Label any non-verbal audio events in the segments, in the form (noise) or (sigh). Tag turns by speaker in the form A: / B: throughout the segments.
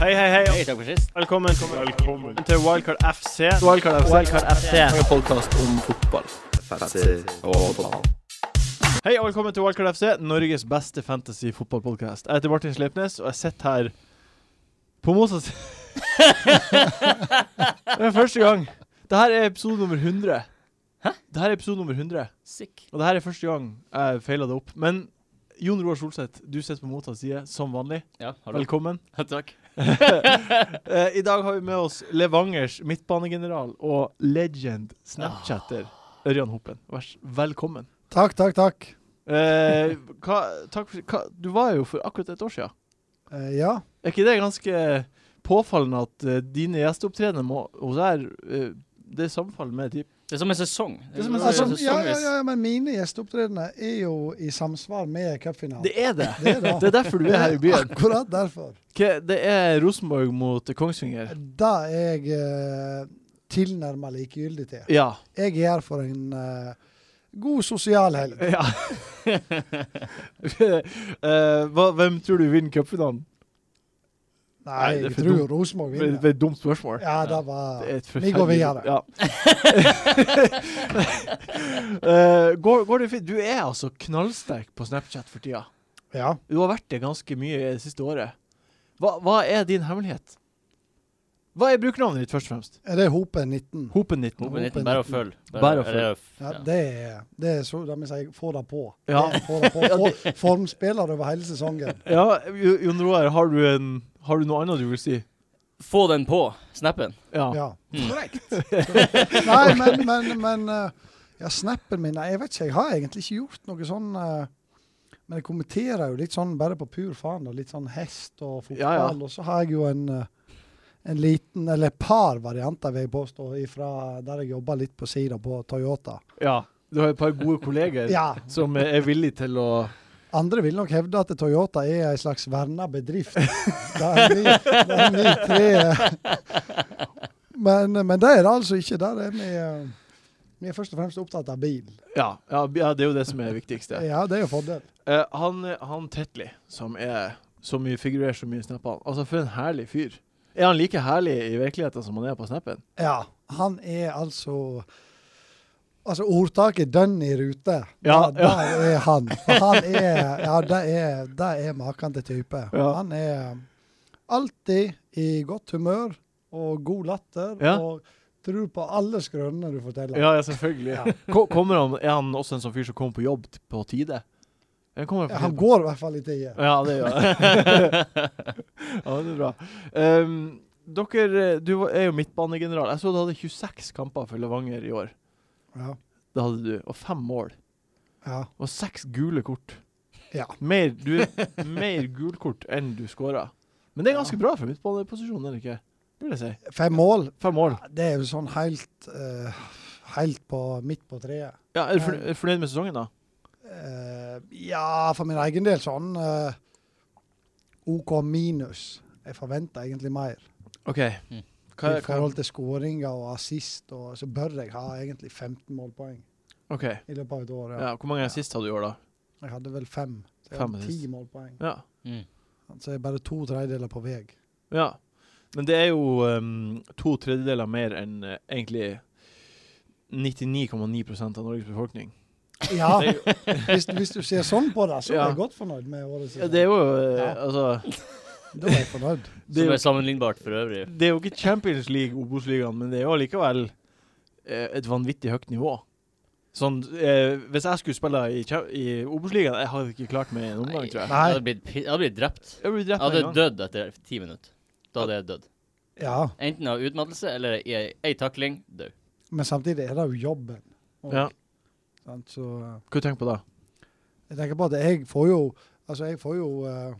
A: Hei, hei, hei.
B: Hei, takk for sist.
A: Velkommen, til Wildcard FC.
C: Wildcard FC.
B: Wildcard FC.
C: En podkast om fotball.
A: Hei og velkommen til Wildcard FC, Norges beste fantasy-fotballpodkast. Jeg heter Martin Sleipnes, og jeg sitter her på Mosas (laughs) Det er første gang. Dette er episode nummer 100.
B: Hæ?
A: Dette er episode nummer 100,
B: Sick.
A: og dette er første gang jeg feila det opp. Men Jon Roar Solseth, du sitter på Motas side som vanlig.
B: Ja, har du?
A: Velkommen.
B: Takk.
A: (laughs) Eh, I dag har vi med oss Levangers midtbanegeneral og legend Snapchatter Ørjan Hoppen. Vær s- velkommen.
D: Takk, takk, takk.
A: Eh, hva, takk for, hva, du var jo for akkurat et år siden.
D: Eh, ja.
A: Er ikke det ganske påfallende at eh, dine gjesteopptredener må- hos deg eh, det samfaller med typ
B: Det er som en sesong.
A: Det er som en sånn
D: Altså,
A: sesong.
D: ja, ja, ja, men mine gjesteopptredener er jo i samsvar med cupfinalen.
A: Det er det!
D: Det er
A: (laughs) Det er derfor du er her i byen.
D: (laughs) Akkurat derfor.
A: Hva- Det er Rosenborg mot Kongsvinger.
D: Det er jeg eh, tilnærma likegyldig til.
A: Ja.
D: Jeg er her for en eh, god sosial helg.
A: ja. (laughs) Eh, hva, hvem tror du vinner cupfinalen?
D: Nei,
A: det er
D: jeg
A: for
D: tror
A: dumt.
D: Rosenborg
A: Det
D: vinner.
A: er et dumt spørsmål.
D: Ja, det var
A: Det er et
D: Vi går videre. (laughs)
A: Ja. Eh, går, går det fint? Du er altså knallsterk på Snapchat for tida.
D: Ja.
A: Du har vært det ganske mye det siste året. Hva, hva er din hemmelighet? Hva er brukernavnet ditt, først og fremst?
D: Er det Hopen 19?
A: Hopen19.
B: Hopen 19, bare å følge.
A: Bare å følge.
B: eller,
D: Ja,
B: ja.
D: det er, det er så, det må jeg si, få det på.
A: (laughs) Ja.
D: Det er Få det på. For, formspiller over hele sesongen.
A: Ja, Jo- Jon Roar, har, du en- har du noe annet du vil si?
B: Få den på snappen.
A: Ja.
D: Ja.
B: Mm.
D: (laughs) Nei, men, men, men eh, Ja, snappen min nei, Jeg vet ikke, jeg har egentlig ikke gjort noe sånn eh, Men jeg kommenterer jo litt sånn bare på pur faen. og Litt sånn hest og fotball.
A: Ja, ja.
D: Og så har jeg jo en eh, en liten, eller et par varianter, vil jeg påstå, fra der jeg jobber litt på sida på Toyota.
A: ja. Du har et par gode kolleger
D: Ja,
A: som er villige til å
D: Andre vil nok hevde at Toyota er en slags verna bedrift. Det er vi, det er vi tre eh. men, men det er det altså ikke. Der er vi, eh, vi er først og fremst opptatt av bil.
A: ja, ja, ja, det er jo det som er viktigst. det.
D: Ja, det er jo fordel.
A: Eh, han, han Tetley, som er så mye figurerer så mye i snappene. Altså, for en herlig fyr. Er han like herlig i virkeligheten som han er på snappen?
D: Ja, han er altså Altså, ordtaket 'dønn i rute',
A: Ja,
D: da, der er han. For han er Ja, det er, det er maken til type.
A: Ja.
D: Han er alltid i godt humør og god latter
A: Ja.
D: og tror på alle skrønene du forteller.
A: Ja, ja selvfølgelig. (laughs) Ko- Kommer han, er han også en sånn fyr som kommer på jobb t- på tide? Eller kommer
D: Ja,
A: på
D: Han
A: tide?
D: går i hvert fall i tide.
A: Ja, det gjør han.
D: (laughs)
A: ja, det er bra. Ehm, dere eh, Du var- er jo midtbanegeneral. Jeg så du hadde 26 kamper for Levanger i år.
D: Ja.
A: Det hadde du. Og fem mål.
D: ja.
A: Og seks gule kort.
D: ja.
A: Mer, du (laughs) er mer gulkort enn du skåra. Men det er ganske bra for midtbaneposisjonen, er det ikke? Det vil jeg si.
D: Fem mål,
A: Fem mål.
D: det er jo sånn helt eh, Helt på midt på treet.
A: Ja, er du fornøyd, er du fornøyd med sesongen, da?
D: Eh, ja, for min egen del sånn eh, OK minus. Jeg forventer egentlig mer.
A: OK.
B: Mm.
A: Hva, hva,
D: I forhold til skåringer og assist og, så bør jeg ha egentlig 15 målpoeng
A: ok.
D: i løpet av et år. Ja.
A: Ja, hvor mange assist hadde du i år, da?
D: Jeg hadde vel fem. Så jeg
A: Fem
D: hadde
A: assist.
D: ti målpoeng.
A: Ja.
B: Mm.
D: Så jeg er bare to tredjedeler på
A: (laughs)
D: vei.
A: ja. Men det er jo ehm, to tredjedeler mer enn eh, egentlig 99,9 av Norges befolkning.
D: Ja,
A: Det er jo,
D: hvis, hvis du ser sånn på det, så er
A: Ja.
D: jeg godt fornøyd med
A: ja,
D: året siden.
A: det er jo eh,
D: Ja.
A: Altså
D: Da er jeg fornøyd.
A: det
B: Som
A: er,
B: er sammenlignbart for øvrig.
A: jo- det er jo ikke Champions League, Obos-ligaen, men det er jo allikevel eh, et vanvittig høyt nivå. Sånn, eh, Hvis jeg skulle spille i, Cha- i Obos-ligaen, jeg hadde ikke klart meg i en omgang, tror
B: jeg
A: jeg.
B: hadde blitt, pi- jeg hadde blitt drept.
A: Jeg ble
B: Jeg
A: drept med
B: hadde
A: en gang.
B: dødd etter ti minutter. Da hadde jeg dødd.
D: Ja,
B: Enten av utmattelse eller i ei- ei takling. Død.
D: men samtidig er det jo jobben. Og-
A: Ja.
D: Sant, så... eh,
A: Hva tenker du på da?
D: Jeg tenker på at jeg får jo Altså, jeg får jo uh,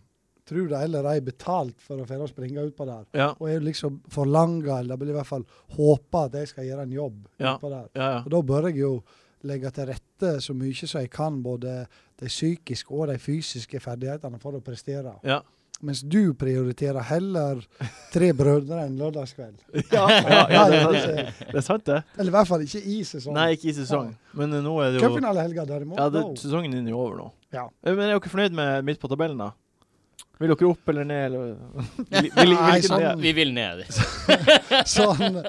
D: Tro det eller ei betalt for å få springe utpå der.
A: Ja,
D: Og jeg liksom forlanger, eller blir i hvert fall håper at jeg skal gjøre en jobb
A: Ja.
D: utpå der.
A: ja, ja.
D: Og da bør jeg jo legge til rette så mye som jeg kan, både de psykiske og de fysiske ferdighetene for å prestere.
A: Ja.
D: Mens du prioriterer heller tre brødre enn lørdagskveld.
A: (laughs)
D: altså,
A: Ja, (laughs) ja, ja, det, er sant, det er sant, det.
D: Eller i hvert fall ikke i sesong.
A: Nei, ikke i sesong. Men eh, nå er det jo
D: Cupfinalehelga derimot,
A: ja, det,
D: no.
A: Sesongen din er jo over nå.
D: Ja.
A: Eh, Men er dere fornøyd med midt på tabellen, da? Vil dere opp eller ned, eller (laughs) vil, vil, vil,
D: Nei,
A: ikke
D: sånn-
A: ned?
B: Vi vil ned.
D: Sånn,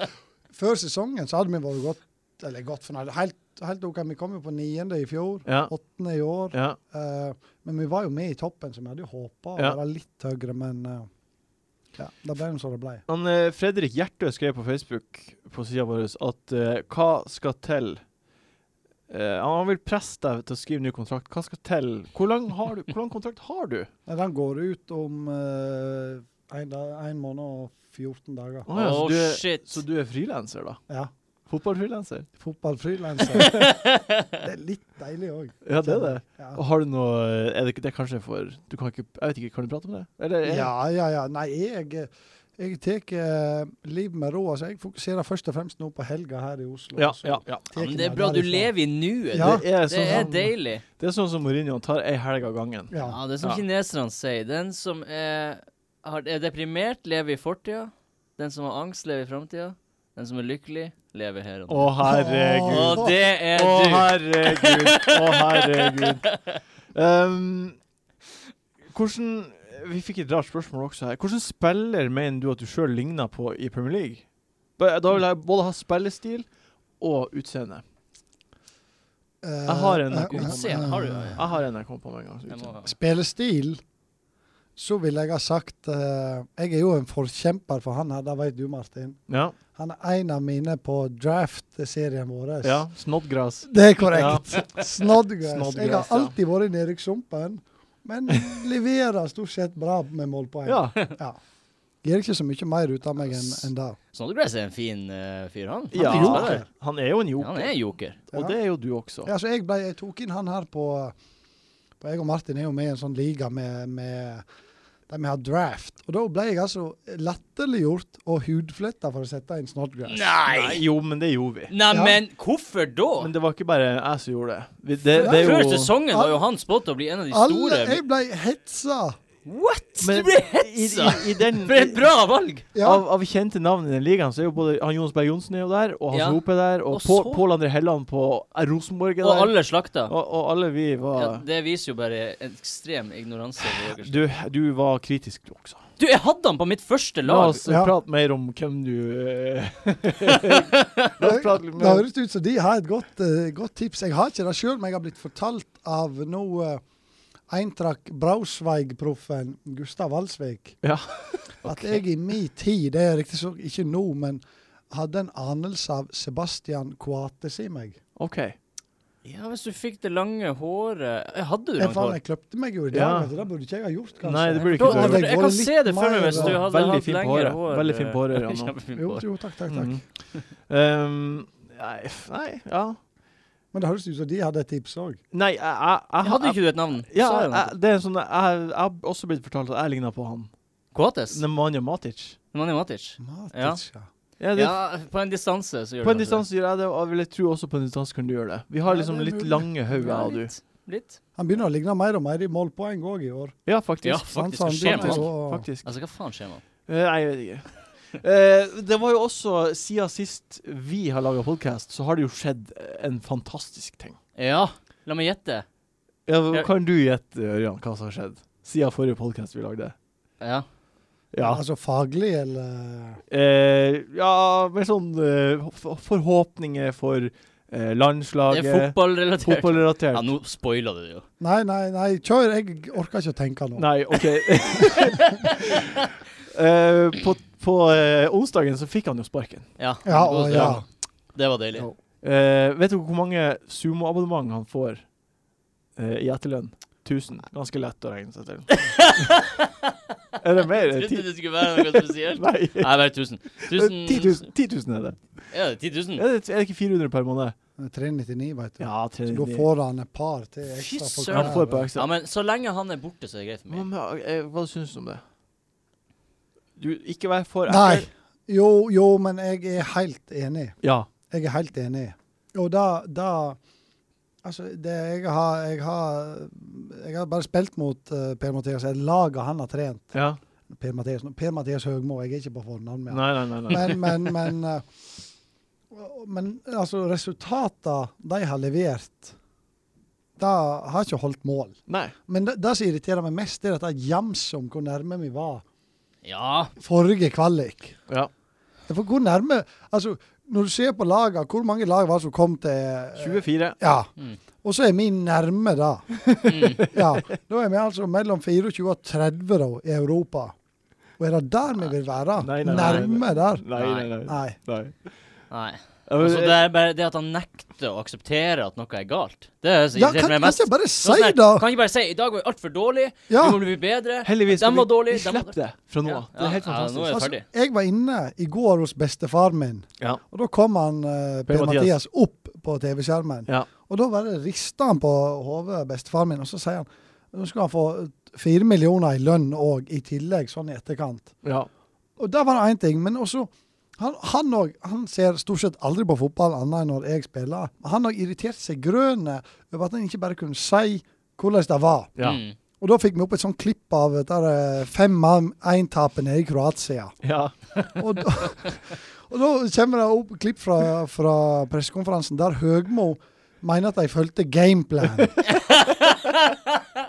D: før sesongen så hadde vi vært godt eller godt fornøyd. Helt, helt OK. Vi kom jo på niende i fjor,
A: Ja.
D: åttende i år.
A: Ja.
D: eh, men vi var jo med i toppen, så vi hadde jo håpa å
A: Ja.
D: være litt høyere, men eh, ja, det ble jo som det ble.
A: Han, eh, Fredrik Hjertø skrev på Facebook på sida vår at eh, hva skal til Eh, Han vil presse deg til å skrive ny kontrakt. Hva skal til? Hvor lang, har du, hvor lang kontrakt har du?
D: Nei, Den går ut om eh, en, dag- en måned og 14 dager.
A: Å ja, så,
B: Å,
A: du er,
B: shit.
A: så du er frilanser, da?
D: Ja.
A: Fotballfrilanser?
D: Fotballfrilanser. det er litt deilig òg.
A: Ja, det er det.
D: Ja.
A: Og har du noe Er det, ikke- det er kanskje for Du kan ikke Jeg vet ikke, kan du prate om det? Eller er-
D: ja, ja, ja. Nei, jeg, jeg tar eh, livet med råd. Altså, jeg fokuserer først og fremst nå på helga her i Oslo.
A: ja,
D: så
A: ja, ja.
D: tar
B: Ja, men
D: jeg
B: det er
D: meg
B: bra. Du
D: derifra.
B: lever i nuet.
D: Ja.
A: Det, er
B: Det, det er
A: sånn,
B: deilig.
A: det er sånn som Mourinho han tar ei helg av gangen.
D: Ja.
B: Ja, det er som
A: Ja.
B: kineserne sier. Den som er, har, er deprimert, lever i fortida. Den som har angst, lever i framtida. Den som er lykkelig, lever her og nå.
A: Å, herregud.
B: Og det er
A: Å,
B: du!
A: herregud. Å,
B: (laughs)
A: herregud. Ehm, hvordan Vi fikk et rart spørsmål også her. Hvordan spiller mener du at du sjøl ligner på i Premier League? Ba- Da vil jeg både ha spillestil og utseende. Jeg har en
D: Eh,
A: god
D: eh,
B: Utseende har du, ja, ja.
A: Jeg har en jeg kom på med en gang. så
B: Jeg må-
A: utseende.
D: Spillestil, så vil jeg ha sagt eh, Jeg er jo en forkjemper for han her, det vet du, Martin.
A: Ja.
D: Han er en av mine på draft-serien vår.
A: ja. Snoddgras.
D: Det er korrekt. (laughs) Snoddgrass.
A: Snoddgrass,
D: Jeg har
A: ja.
D: alltid vært nede i sumpen, men leverer stort sett bra med målpoeng.
A: Ja.
D: Ja. Gjør ikke så mye mer ut av meg enn enn det.
B: Snodgrass er en fin eh, fyr, han.
A: ja.
B: Han er
D: joker.
A: Han er jo en
B: joker. Han er
A: joker.
B: joker.
A: Og det er jo du også.
D: Ja, så jeg, ble, jeg tok inn han her på, på Jeg og Martin er jo med i en sånn liga med, med der vi har draft. Og da ble jeg altså latterliggjort og hudfletta for å sette inn Snodgrass.
B: Nei!
A: Nei, jo, men det gjorde vi.
B: Nei,
D: Ja.
B: men hvorfor da?
A: Men det var ikke bare jeg som gjorde det. Vi, det, det er
B: Før
A: jo
B: sesongen var jo han spådd å bli en av de
D: Alle,
B: store.
D: jeg ble hetsa!
B: What?!
A: Men
B: du ble
A: i,
B: hetsa!
A: i, i den
B: For et bra valg!
D: Ja,
A: av, av kjente navn i den ligaen, så er jo både han Jonas Berg Johnsen er jo der, og Hans
B: Ja.
A: Hope er der, og,
B: Og
A: På-
B: så-
A: Pål André Helland på eh, Rosenborg er
B: Og
A: der.
B: alle slakta.
A: og, og alle vi var
B: Ja, det viser jo bare en ekstrem ignoranse. på deres-
A: du, du var kritisk, du også.
B: Du, jeg hadde han på mitt første
A: La
B: lag!
A: oss
D: Ja.
A: prate mer om hvem du eh, (laughs) La oss
D: det,
A: prate litt
D: det
A: mer.
D: høres ut som de har et godt, eh, godt tips. Jeg har ikke det sjøl, men jeg har blitt fortalt av nå eh, Eintracht Brausweig-proffen Gustav Alsvik
A: Ja.
D: at jeg i min tid, det er riktig så ikke nå, men hadde en anelse av Sebastian Coates i meg.
A: OK.
B: Ja, hvis du fikk det lange håret Eh, Hadde du
D: Jeg,
B: langt
D: faen,
B: hår?
D: jeg kløpte meg jo i dag,
A: Ja.
D: vet du, det burde ikke jeg ha gjort, kanskje.
A: Nei, det burde
B: Da,
A: ikke
D: forstår-
A: du
D: det
A: gjøre.
B: jeg kan
D: går litt
B: se det for meg
D: mer,
B: hvis du
D: da.
B: hadde
A: eh, Veldig
B: hatt
A: fint på
B: lengre
A: håret.
B: hår.
A: Veldig fint på håret,
B: eh, (laughs)
A: Jan.
B: Kjempefint
D: Jo,
B: på håret.
D: jo, takk, takk, takk.
A: Mhm. Ehm, nei, f- nei, ja.
D: Men det høres ut som de hadde et tips òg.
A: Nei, jeg, jeg, jeg,
B: Hadde ikke du et navn?
A: ja,
B: Sa
A: jeg,
B: jeg noe?
A: jeg, det er sånn, jeg, jeg har også blitt fortalt at jeg ligner på han.
B: Kåtes?
A: Nemanja Matic.
B: Nemanja Matic? Ja.
D: Matic, ja.
A: Ja, det,
B: Ja, på en distanse så gjør
A: På en
B: du kanskje
A: distanse gjør jeg det, og jeg vil tro også på en distanse kan du gjøre det. Vi
D: Ja,
A: har liksom
D: det er
A: litt
D: mulig.
A: lange
B: det.
A: hoder,
B: Ja,
A: jeg og du.
B: litt. litt.
D: Han begynner å ligne mer og mer i målpoeng òg i år.
A: Ja, faktisk.
B: Ja,
D: sant,
B: faktisk. Hva
D: så han
B: skjer med
D: begynner
B: han?
D: å-
A: faktisk.
B: Altså, hva faen skjer med han?
A: Eh, nei, jeg vet ikke. Eh, det var jo også, siden sist vi har laga podkast, så har det jo skjedd en fantastisk ting.
B: Ja, la meg gjette.
A: Ja, hva-
B: Ja.
A: kan du gjette, Ørjan, hva som har skjedd? Siden forrige podkast vi lagde?
B: Ja.
A: Ja.
D: Altså faglig, eller
A: Eh, ja, mer sånn eh, for- forhåpninger for eh,
B: Det er
A: landslaget.
B: fotballrelatert.
A: Fotballrelatert.
B: Ja, nå spoiler du det jo.
D: Nei, nei, nei, kjør. Jeg orker ikke å tenke nå.
A: Nei,
B: (laughs)
A: OK. Eh, på på eh, onsdagen så fikk han jo sparken.
B: Ja,
D: Ja, og ja.
B: Det var deilig.
D: Jo.
A: Eh, vet du hvor mange sumoabonnement han får eh, i etterlønn? 1000. Ganske lett å regne seg
B: (laughs)
A: til. er det mer?
B: Jeg trodde
A: Ti-
B: det skulle være noe
A: (laughs)
B: spesielt.
A: Nei.
B: Nei, bare 1000. 1000
A: 10 000, 10 000 er det.
B: Ja, 10 000.
A: Er det, er det ikke 400 per måned?
D: 399, vet du.
A: Ja,
D: Så da
A: 399.
D: får han et par til
B: Fy
D: ekstra. for
B: søren.
A: Han får et
D: hver.
A: par
B: Ja,
A: ekstra.
B: men så lenge han er borte, så er det greit for meg.
A: Men, eh, hva syns du om det? Du, ikke vær for
D: Nei. Jo, jo, men jeg er helt enig.
A: Ja.
D: Jeg er helt enig. Og da, da Altså, det jeg har Jeg har, jeg har bare spilt mot eh, Per Mathias. Jeg laget han har trent.
A: ja.
D: Per Mathias, per Mathias Høgmo. Jeg er ikke på fornavn med han.
A: Nei, nei, nei. nei.
D: Men, men, men, eh, men altså, resultatene de har levert det har ikke holdt mål.
A: Nei.
D: Men det, det som irriterer meg mest, er dette jamset om hvor nærme vi var
B: Ja.
D: forrige kvalik.
A: Ja.
D: For hvor nærme Altså, når du ser på lagene, hvor mange lag var det som kom til eh,
A: 24.
D: Ja.
B: Mm.
D: Og så er vi nærme da.
B: Mm.
D: Ja, Da er vi altså mellom 24 og 30 da, i Europa. Og er det der vi vil være?
A: Nei, nei, nei,
D: nærme
A: nei.
D: der?
A: Nei, nei, nei.
D: Nei.
A: nei.
B: Nei.
A: Ja, men-
B: Altså, det er bare det at han nekter å akseptere at noe er galt. Det er det som
D: Ja, kan,
B: irriterer meg
D: kan
B: mest.
D: ikke jeg bare
B: Sånn
D: si
B: her,
D: det?
B: Kan ikke bare si i dag var vi altfor dårlige,
D: Ja.
B: vi må bli bedre.
A: Heldigvis.
B: Den var
A: vi-
B: dårlig,
A: Vi
B: den var
A: slipper det fra nå
B: Ja,
A: av. Det er helt
B: ja, ja, nå er
A: fantastisk.
B: det-
D: Altså,
B: ferdig.
D: jeg var inne i går hos bestefaren min,
A: Ja.
D: og da kom han eh, Per-Mathias opp på TV-skjermen.
A: Ja.
D: Og da bare rista han på hodet, bestefaren min, og så sier han nå skal han få fire millioner i lønn òg, i tillegg, sånn i etterkant.
A: Ja.
D: Og det var én ting, men også han òg han, og- han ser stort sett aldri på fotball annet enn når jeg spiller. Han har irritert seg grønne over at han ikke bare kunne si hvordan det var.
A: Ja.
B: Mm.
D: Og da fikk vi opp et sånt klipp av det der eh, 5-1-tapet nede i Kroatia.
A: ja.
D: Og da, (laughs) og da kommer det opp klipp fra, fra pressekonferansen der Høgmo mener at de fulgte gameplan.
A: (laughs)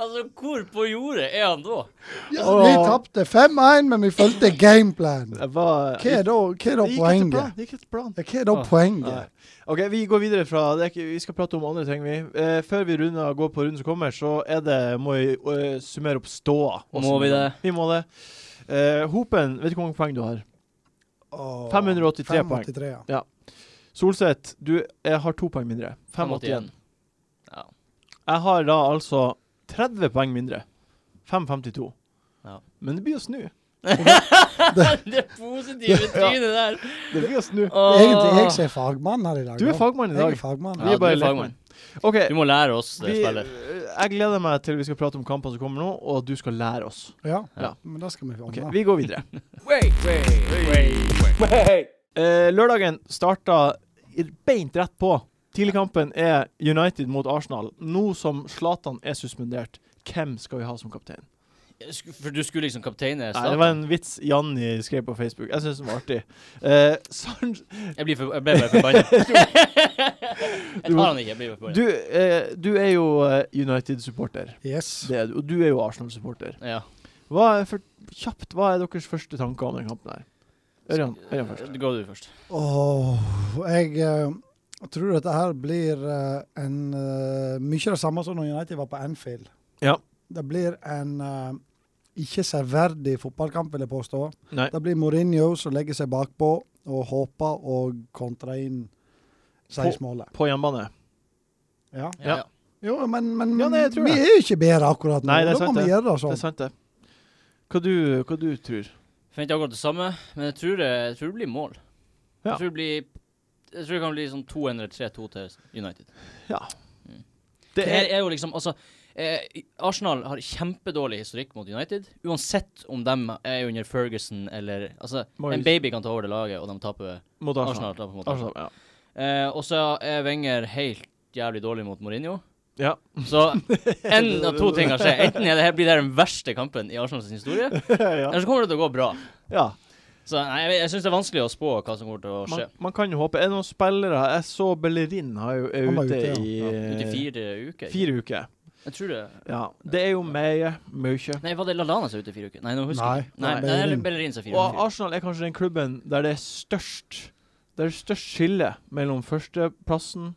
B: Altså, hvor på jordet er han da? (laughs)
D: Ja, vi tapte 5-1, men vi fulgte gameplan.
A: Det var
D: Hva er da, hva er da
A: Det gikk etter plan.
D: poenget?
A: Det gikk etter plan.
D: Ja, Hva er da
B: Ah,
A: Nei.
D: poenget?
A: OK, vi går videre fra det er ikke, Vi skal prate om andre ting, vi. Eh, før vi runder, går på runden som kommer, så er det, må vi eh, summere opp ståa.
B: Må
A: Også.
B: vi det?
A: Vi må det. Eh, Hopen, vet du hvor mange poeng du har?
D: Åh,
A: 583 poeng.
D: 583, ja.
A: Solseth, du eh, har to poeng mindre. 581.
B: Ja.
A: Jeg har da altså 30 poeng mindre. 552.
B: Ja.
A: Men det blir å snu.
B: Det
A: (laughs)
B: positive trynet der.
A: Det blir å snu.
D: Det er Egentlig
B: Åh.
D: jeg som er fagmann her i dag.
A: Du er
D: da.
A: fagmann i
D: Jeg
A: dag.
D: er fagmann.
B: Ja,
A: Vi er
B: du
A: bare
B: er fagmann.
A: OK.
B: Du må lære oss eh, det
A: Vi,
B: spillet.
A: jeg gleder meg til vi skal prate om kampene som kommer nå, og at du skal lære oss.
D: Ja.
A: Ja.
D: Men da skal vi få
A: Ok,
D: ordne.
A: Vi går videre. Eh, lørdagen starta i- beint rett på. Tidligkampen er United mot Arsenal. Nå som Zlatan er suspendert, hvem skal vi ha som kaptein?
B: Sk- For du skulle liksom kapteine
A: Nei, det
B: staten?
A: var en vits Janni skrev på Facebook. Jeg syns den var artig. Eh, San
B: Jeg, blir for, jeg ble bare forbanna.
A: (laughs)
B: jeg tar han ikke, jeg blir bare forbanna.
A: du, eh, du er jo eh, United-supporter.
D: Yes.
A: Det er du. Og du er jo Arsenal-supporter.
B: Ja.
A: Hva er for kjapt, hva er deres første tanker om den kampen her? Ørjan, Ørjan først.
B: Du går du først.
D: Åh, jeg eh, tror dette her blir eh, en eh, Mye av det samme som når United var på Anfield.
A: Ja.
D: Det blir en eh, ikke severdig fotballkamp, vil jeg påstå.
A: Nei.
D: Det blir Mourinho som legger seg bakpå og håper å kontra inn seiersmålet.
A: På hjemmebane.
D: Ja.
A: Ja.
D: Jo, men, men
A: Ja, nei, jeg tror
D: vi
A: det.
D: er jo ikke bedre akkurat nå.
A: Nei, det er
D: da
A: sant
D: må vi
A: det.
D: gjøre det
A: Det er
D: sånn.
A: sant, det. Hva du, hva du tror
B: Finner ikke akkurat det samme, men jeg tror det, jeg tror det blir mål.
A: Ja.
B: Jeg, tror det blir, jeg tror det kan bli sånn 2-1 eller 3-2 til United.
A: Ja.
B: Mm.
A: Det
B: Det her
A: er
B: er jo liksom, altså eh, Arsenal har kjempedårlig historikk mot United. Uansett om de er under Ferguson eller Altså,
A: Moyes.
B: en baby kan ta over det laget, og de taper
A: mot Arsenal.
B: Arsenal. taper mot Arsenal.
A: Arsenal,
D: (laughs)
A: ja.
B: Eh, og så er Wenger helt jævlig dårlig mot Mourinho.
A: Ja.
B: Så en av to ting kan skje. Enten er det her, blir det her den verste kampen i Arsenals historie,
A: ja.
B: eller så kommer det til å gå bra.
A: ja.
B: Så nei, jeg, jeg syns det er vanskelig å spå hva som kommer til å skje.
A: Man, man kan jo håpe. Er det noen spillere Jeg så Bellerin har jo, er
D: Han
A: ute,
D: var ute, ja.
A: i eh,
B: Ja, Ut i fire uker.
A: fire uker.
B: Jeg tror det
A: Ja. Det er jo mye. Mye.
B: Nei, var det Lallana som er ute i fire uker? Nei, nå husker jeg ikke. Nei,
D: Nei,
B: det er
D: Bellerin.
B: Bellerin som er fire
A: Og
B: uker.
A: Arsenal er kanskje den klubben der det er størst Der det er størst skille mellom førsteplassen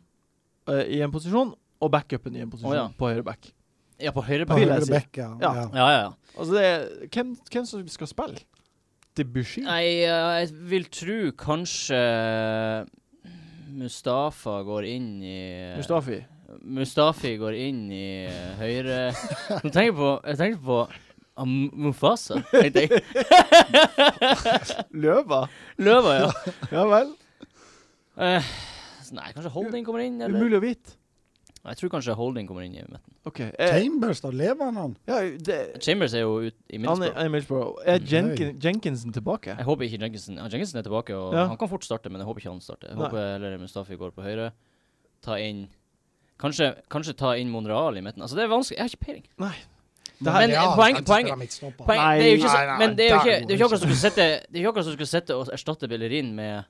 A: eh, i en posisjon og backupen i en posisjon
B: Å, ja.
A: på høyre back.
B: Ja, på høyre
D: På
A: vil jeg
D: høyre
A: si.
D: bekk, ja.
A: Ja.
D: ja.
B: Ja, ja, ja.
A: Altså, det er hvem, hvem som skal spille? Debussy?
B: Nei, eh, jeg vil tro kanskje eh, Mustafa går inn i eh,
A: Mustafi?
B: Mustafi går inn i eh, høyre Nå tenker jeg på Jeg tenker på ah, M- Mufasa. tenkte jeg.
A: Løva?
B: Løva, ja.
A: Ja vel?
B: Eh, nei, kanskje Holding kommer inn? Eller?
A: Umulig å vite.
B: Jeg tror kanskje Holding kommer inn i midten.
A: OK. Eh,
D: Chambers, da lever han, han.
A: ja, det,
B: Chambers er jo ut i
A: Han er,
B: midten.
A: han er Middlesbrough. Er
B: Mm.
A: Jenkin, Jenkinsen tilbake?
B: Jeg håper ikke Jenkinson ja, Jenkinson er tilbake, og
A: Ja.
B: han kan fort starte, men jeg håper ikke han starter. Jeg
A: Nei.
B: håper heller Mustafi går på høyre. Ta inn Kanskje, kanskje ta inn Monreal i midten. Altså, det er vanskelig. Jeg har ikke peiling.
A: Nei.
B: Men, eh, poeng, poeng, Poeng,
D: Nei,
B: det er jo ikke, så,
D: nei, nei,
B: men det er jo ikke,
D: der går
B: det er
D: det
B: jo ikke akkurat som skulle sette, det er jo ikke akkurat som skulle sette og erstatte Bellerin med,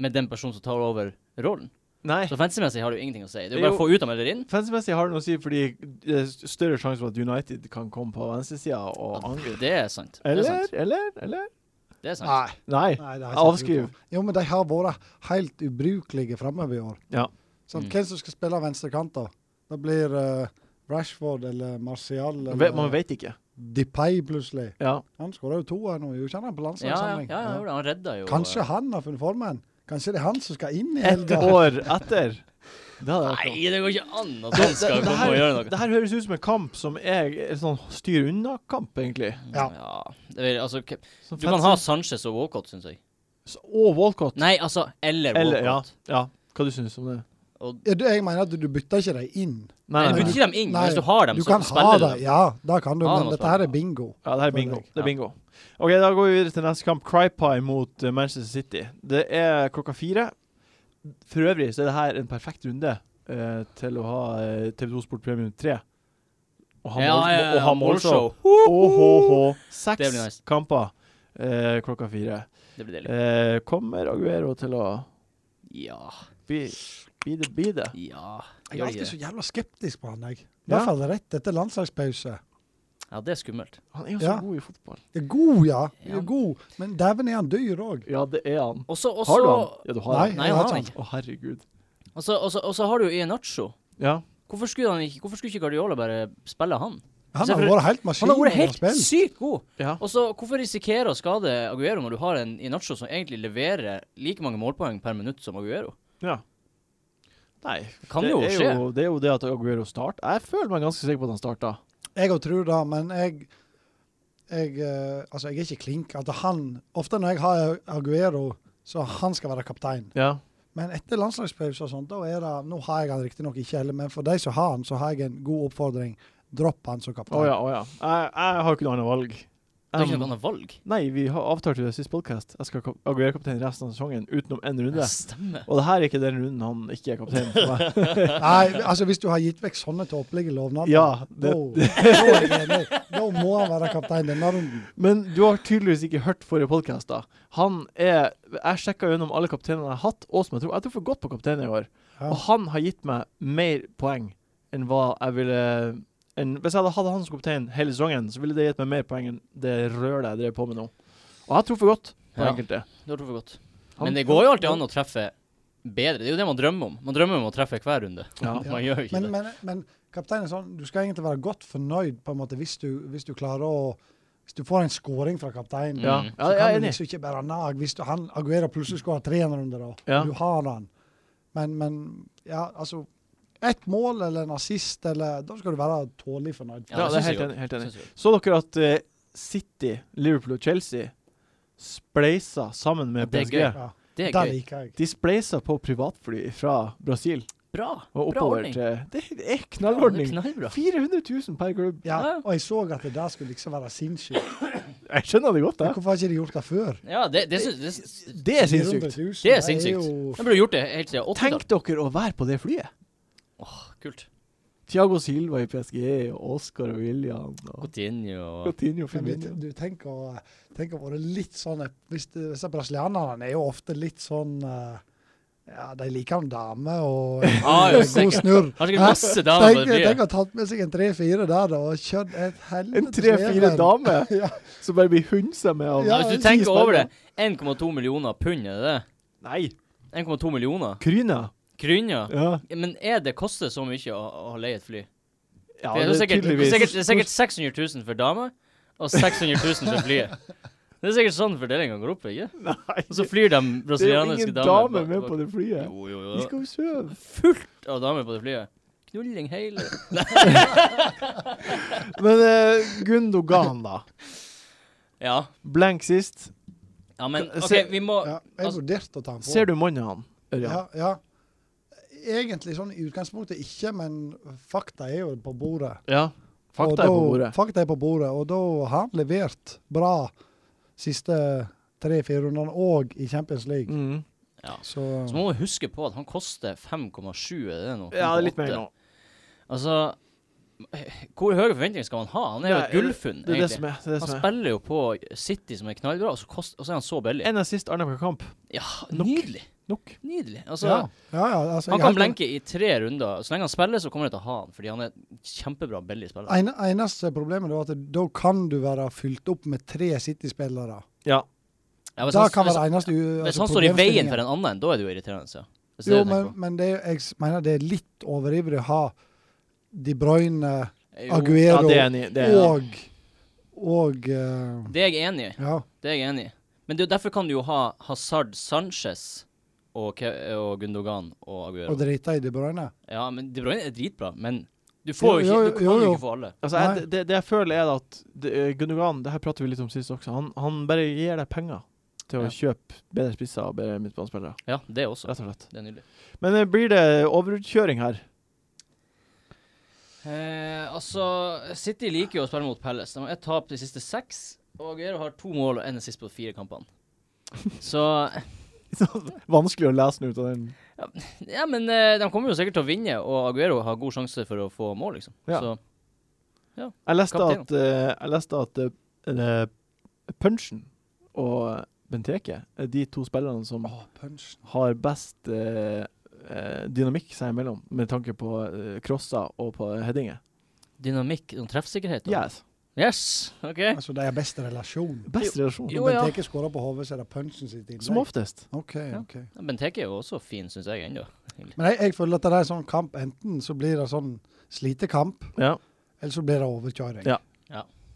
B: med den personen som tar over rollen.
A: Nei.
B: Så fansymessig har det jo ingenting å si. Det er
A: Det
B: jo
A: er
B: bare å få ut dem eller inn.
A: Fansmessig har det noe å si, fordi det er større sjanse for at United kan komme på venstresida og angripe.
B: Det er sant. Det er
A: Eller?
B: sant.
A: Eller? Eller?
B: Det er sant.
D: Nei.
A: Nei.
D: Nei, det har jeg ikke
A: Avskriv.
D: tro på. Jo, men de har vært helt ubrukelige framover i år.
A: Ja.
D: Sånn,
B: Mm.
D: Hvem som skal spille venstrekant, da? Det blir eh, Rashford eller Martial eller
A: Ve- Man vet ikke.
D: Depay plutselig.
A: Ja.
D: Han skåra jo to her nå, gjorde ikke han
B: Ja, ja, ja,
D: på landslagssamling?
B: ja, jo da, han redda jo
D: sånn Kanskje han har funnet formen? Kanskje det er han som skal inn i
A: Ett
D: helga?
A: år etter. Det hadde vært
B: Nei,
A: bra.
B: det går ikke an at han skal
A: det, det,
B: komme og gjøre
A: her,
B: noe.
A: det her høres ut som en kamp som er en sånn styr unna-kamp, egentlig.
D: Ja.
B: det vil, altså, hvem-
A: Som
B: du kan
A: fansen-
B: ha Sanchez og Walcott, syns jeg.
A: Og Walcott.
B: Nei, altså, eller
A: Eller, ja,
B: Walcott.
A: ja. Hva du syns om det?
B: Og,
D: Ja, du, jeg mener at du, du bytter ikke dem inn.
A: Nei,
B: nei,
A: nei,
B: du
A: nei.
B: bytter dem inn, men
D: Nei,
B: hvis du har dem,
D: Du
B: så
D: kan ha
B: spiller du dem.
D: det, ja, det kan du,
B: Ha
D: men
B: noe
D: dette her
B: spennende.
D: er bingo.
A: Ja, det her er bingo. Det
B: Ja.
A: er bingo. Ok, Da går vi videre til neste kamp. Crypie mot eh, Manchester City. Det er klokka fire. For øvrig så er det her en perfekt runde eh, til å ha eh, TV2 Sport Premium 3. Og ha, mål, og ha målshow. Åhåhå.
B: Det
A: Seks
B: blir nice.
A: kamper eh, klokka fire.
B: Det blir deilig.
A: Eh, kommer Aguero til å
B: Ja,
A: bli, bli det? Bli det?
B: ja.
D: Jeg
B: Gjør
D: er
B: de
D: alltid
B: det?
D: så jævla skeptisk på han, jeg. I
A: Ja.
D: hvert fall rett etter landslagspause.
B: Ja, det er skummelt.
A: Han er jo så
D: Ja.
A: god i fotball.
D: Det er god, ja. Det
B: Ja.
D: er god. Men dæven er han dyr òg.
A: Ja, det er han.
B: Og så, og
A: Har du han?
B: så-
A: Ja, du har
D: Nei,
A: han.
B: Nei,
D: jeg
B: han
D: hater
B: har
D: han.
B: han.
A: Å, herregud.
B: og så- og så og så har du jo Ianacho.
A: Ja.
B: Hvorfor skulle, han ikke, hvorfor skulle ikke Guardiola bare spille han?
D: Han
B: Så
D: har
B: for-
D: vært helt maskin.
B: Han har vært
D: når
B: helt
D: spilt.
B: sykt god.
A: ja.
B: Og så Hvorfor risikere å skade Aguero når du har en Inacho som egentlig leverer like mange målpoeng per minutt som Aguero?
A: Ja. Nei,
B: Det kan jo
A: er
B: skje.
A: Jo, det er jo det at Aguero starter. Jeg føler meg ganske sikker på at han starta.
D: Jeg òg tror det, men jeg jeg, eh, altså jeg er ikke klink. At han, ofte når jeg har Aguero, så han skal være kaptein.
A: Ja.
D: Men etter landslagspause og sånt, da er det, nå har jeg han riktignok ikke heller, men for de som har han, så har jeg en god oppfordring. Dropp han som
A: Å
D: kaptein.
A: ja, å ja. Jeg, jeg har ikke noe annet valg.
B: Det er ikke
A: Um,
B: noe annet valg.
A: Nei, vi har avtalt jo det siste podcast. Jeg skal kap- Aguero kaptein resten av sesongen utenom én runde.
B: Det stemmer.
A: Og det her er ikke den runden han ikke er kaptein for
B: (laughs)
A: meg.
D: (laughs) Nei, altså hvis du har gitt vekk sånne tåpelige lovnader,
A: Ja,
D: da,
A: det-
D: da, er jeg enig. da må han være kaptein denne runden.
A: Men du har tydeligvis ikke hørt forrige podkast, da. Han er Jeg sjekka gjennom alle kapteinene jeg har hatt, og som jeg tror Jeg tror for godt på kapteinen i år.
D: Ja.
A: Og han har gitt meg mer poeng enn hva jeg ville enn, Hvis jeg hadde hatt han som kaptein hele sesongen, så ville det gitt meg mer poeng enn det rølet jeg drev på med nå. Og jeg tror for godt på
B: Ja.
A: enkelte.
B: Du har truffet godt.
A: Han-
B: Men det går jo alltid an å treffe bedre. Det er jo det man drømmer om. Man drømmer om å treffe hver runde.
A: Ja.
B: (laughs) Man gjør jo ikke
D: Men,
B: det.
D: men, men kaptein er sånn, du skal egentlig være godt fornøyd på en måte hvis du, hvis du klarer å Hvis du får en scoring fra kapteinen,
A: Ja.
B: Mm.
A: ja,
D: så
A: jeg
D: kan
A: er
D: du
A: enig.
D: liksom ikke bare nag. Hvis du, han Aguero plutselig skårer tre runder, da.
A: Ja.
D: Du har han. Men, men ja, altså Ett mål eller en assist, eller Da skal du være tålelig fornøyd.
A: Ja, det
B: synes
A: er helt
B: jeg
A: enig. Helt
B: jo.
A: enig.
B: Synes jeg jo.
A: Så dere at eh, City, Liverpool og Chelsea spleisa sammen med
B: Det er
A: PSG?
D: Ja,
B: Det
D: det
B: er gøy.
D: liker jeg.
A: De spleisa på privatfly fra Brasil
B: Bra.
A: og
B: Bra
A: oppover
B: ordning.
A: til Det er
B: Ja, det er
A: knallordning.
B: Knallbra.
A: 400 000 per klubb.
D: Ja,
B: Ja.
D: og jeg så at det der skulle liksom være sinnssykt.
A: Jeg skjønner det godt, jeg.
D: Hvorfor har ikke de gjort det før?
B: Ja, det, det, synes- det, synes-
A: Det er sinnssykt.
D: 400 000,
B: Det er sinnssykt.
D: jo-
B: Man burde gjort det helt siden 80-tallet.
A: Tenk dere å være på det flyet.
B: Kult.
A: Thiago Silva i PSG, og Oscar og William og
B: Coutinho og
A: Coutinho
D: Men vi-
A: Firmino.
D: du, tenk å, tenk å være litt sånn hvis du, Disse brasilianerne er jo ofte litt sånn eh, Ja, de liker en dame
A: (laughs)
D: og en
B: Ja, jo,
D: god
B: sikkert.
D: snurr.
B: Har sikkert
D: Hæ?
B: masse damer på
D: Tenk,
B: det flyet.
D: tenk å ha tatt med seg en tre-fire der da, og kjørt et helvete
A: En tre-fire damer
D: (laughs) Ja.
A: som bare blir hundsa med av
D: Ja,
B: Ja, hvis du
D: ti
B: tenker over det 1,2 millioner pund, er det det?
A: Nei!
B: 1,2 millioner
A: Kryna.
B: kryner?
A: Ja.
B: Men er det koster så mye å, å leie et fly?
A: ja,
B: det, er sikkert, det, er
A: tydeligvis.
B: sikkert, det er sikkert 600 000 for dama, og 600 000 for flyet. Det er sikkert sånn fordelinga går opp, ikke?
A: (laughs) Nei,
B: Og så altså, flyr de
A: det er jo
B: brasilianske
A: ingen
B: damene
A: damer med på det flyet.
B: Jo, jo,
A: De
B: jo.
A: skal jo sove.
B: Fullt av damer på det flyet. Knulling hele
A: Men eh, Gundogan, da.
B: Ja.
A: Blank sist.
B: ja, men OK,
A: Se-
B: vi må
D: Ja, jeg
B: Altså-
D: vurderte å ta den på.
A: Ser du mannen han? Ørjan?
D: Ja, ja. Egentlig sånn i utgangspunktet ikke, men fakta er jo på bordet.
A: Ja.
D: Og
A: Fakta er på
D: da-
A: bordet.
D: Fakta er på bordet, og da har han levert bra siste tre-fire rundene, og i Champions League.
A: Mm.
D: Så,
B: Så må man huske på at han koster 5,7, er det nå?
A: Ja, det er litt mer
B: 5,8.
A: nå.
B: Altså Hvor høye forventninger skal man ha? Han er jo
A: Ja,
B: et gullfunn,
A: Det er det
B: egentlig.
A: som er. Det er det
B: Han
A: som er.
B: spiller jo på City, som er knallbra, og så, kost, og så er han så billig.
A: En assist annenhver kamp.
B: Ja, Nydelig.
A: Nok.
B: Nydelig. Altså,
D: ja. Ja, ja, altså,
B: han
D: jeg
B: kan
D: helt-
B: blenke i tre runder. Så lenge han spiller, så kommer jeg til å ha han, fordi han er en kjempebra, billig spiller.
D: Ene- Eneste problemet er at da kan du være fylt opp med tre City-spillere.
A: Ja.
B: Ja, hvis
D: Da
B: han,
D: kan
B: hvis,
D: være eneste u-
B: hvis
D: altså,
B: han står i veien
D: problemstillingen.
B: for en annen, da er det jo irriterende. Ja. Hvis det er
D: Jo,
B: det du
D: men,
B: tenker på.
D: men det er, jeg s- mener det er litt overivrig å ha De Bruyne,
B: Jo,
A: ja,
D: Aguero
A: det er enig. Det er enig.
D: og Og eh,
B: Det er jeg enig i.
D: Ja.
B: Det er jeg enig i. Men det, er jo derfor kan du jo ha Hazard Sanchez og, Ke og Gundogan og Aguero.
D: Og drita i De Bruyne.
B: Ja, men De Bruyne er dritbra, men du får jo
D: Jo,
B: ikke
D: jo,
B: Du kan
D: jo,
B: jo,
D: jo.
B: ikke få alle.
A: Altså,
D: Nei.
A: jeg, det, det jeg føler, er at det, eh, Gundogan Det her prater vi litt om sist også. Han, han bare gir deg penger til å
B: Ja.
A: kjøpe bedre spisser og bedre midtbanespillere.
B: Ja, det også.
A: Rett og slett.
B: Det er nydelig.
A: Men eh, blir det overkjøring (laughs) her?
B: Eh, altså, City liker jo å spille mot Palace. De har ett tap de siste seks, og Aguero har to mål og én sist på de fire
A: (laughs)
B: kampene. Så
A: Vanskelig å lese den ut av den.
B: Ja, men eh, de kommer jo sikkert til å vinne, og Aguero har god sjanse for å få mål, liksom.
A: Ja.
B: Så
A: Jeg leste
B: Kaptein.
A: at, eh, jeg leste at eh, eh, Punchen og Benteke er de to spillerne som
D: Å, punch.
A: har best eh, eh, dynamikk seg imellom, med tanke på eh, crosser og på headinger.
B: dynamikk og treffsikkerhet. da.
A: Yes.
B: Yes! OK.
D: Altså, de har best relasjon.
A: Best relasjon.
B: Jo,
D: Når
B: ja.
D: Benteke skårer på hodet, så er det punchen sitt innlegg.
A: Som oftest.
D: OK, OK.
B: Ja, Benteke er jo også fin, syns jeg, ennå.
D: Men jeg, jeg føler at det er en sånn kamp. Enten så blir det sånn slitekamp,
A: Ja.
D: eller så blir det overkjøring.
A: Ja.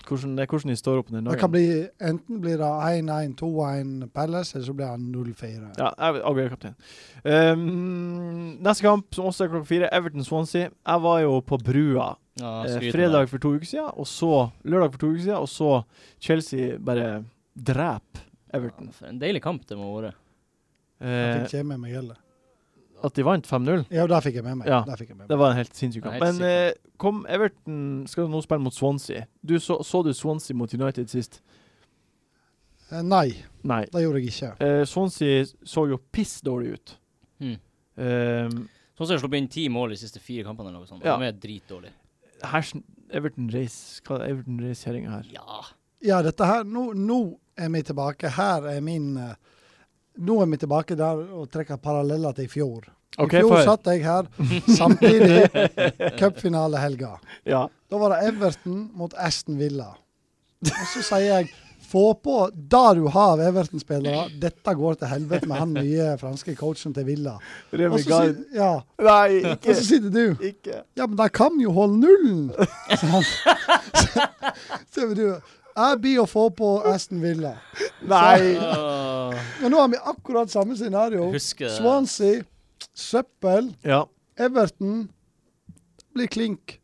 A: Hvordan, det er hvordan de står opp den
D: Det kan
A: dagen.
D: bli, enten blir det 1-1, 2-1 Palace, eller så blir det 0-4.
A: Ja, jeg vil- Aguero kaptein. Um, neste kamp, som også er klokka fire, Everton-Swansea. Jeg var jo på brua
B: Ja,
A: eh,
B: skryt med
A: fredag for to uker siden, og så lørdag for to uker siden, og så Chelsea bare dreper Everton.
B: Ja, for en deilig kamp det må ha vært.
D: Det
A: Eh,
D: fikk ikke jeg med meg heller.
A: at de vant 5-0,
D: Ja, det fikk jeg med meg.
A: Ja.
D: Det fikk jeg med meg.
A: det var en helt sinnssyk kamp.
B: Ja, helt
A: Men eh, kom Everton skal nå spille mot Swansea. Du så, så du Swansea mot United sist?
D: Eh, Nei,
A: Nei.
D: det gjorde jeg ikke.
A: Eh, Swansea så jo piss dårlig ut.
B: Hmm.
A: Um,
B: Sånn som jeg sluppet inn ti mål de siste fire kampene, eller noe sånt.
A: Ja.
B: De er dritdårlige.
A: her, Everton Race Hva er Everton Race-kjerringa her?
B: Ja.
A: (laughs)
D: Ja, dette her, nå, nå er vi tilbake. Her er min eh, Nå er vi tilbake der og trekker paralleller til i fjor.
A: OK,
D: I fjor
A: få høre.
D: satt jeg
A: (laughs)
D: her samtidig cupfinalehelga.
A: Ja.
D: Da var det Everton mot Aston Villa. Og så sier jeg få på det du har av Everton-spillere. Dette går til helvete med han nye franske coachen til Villa. Og
A: Remi
D: så
A: Gaid.
D: sitter, ja,
A: Nei,
D: og så sitter du
A: ikke.
D: Ja, men de kan jo holde nullen! Så- så- (laughs) så vil du, Jeg blir å få på Aston Villa.
A: Nei.
B: Åh,
D: Men nå har vi akkurat samme scenario.
B: Husker det.
D: Swansea, søppel,
A: Ja,
D: Everton. Det blir klink.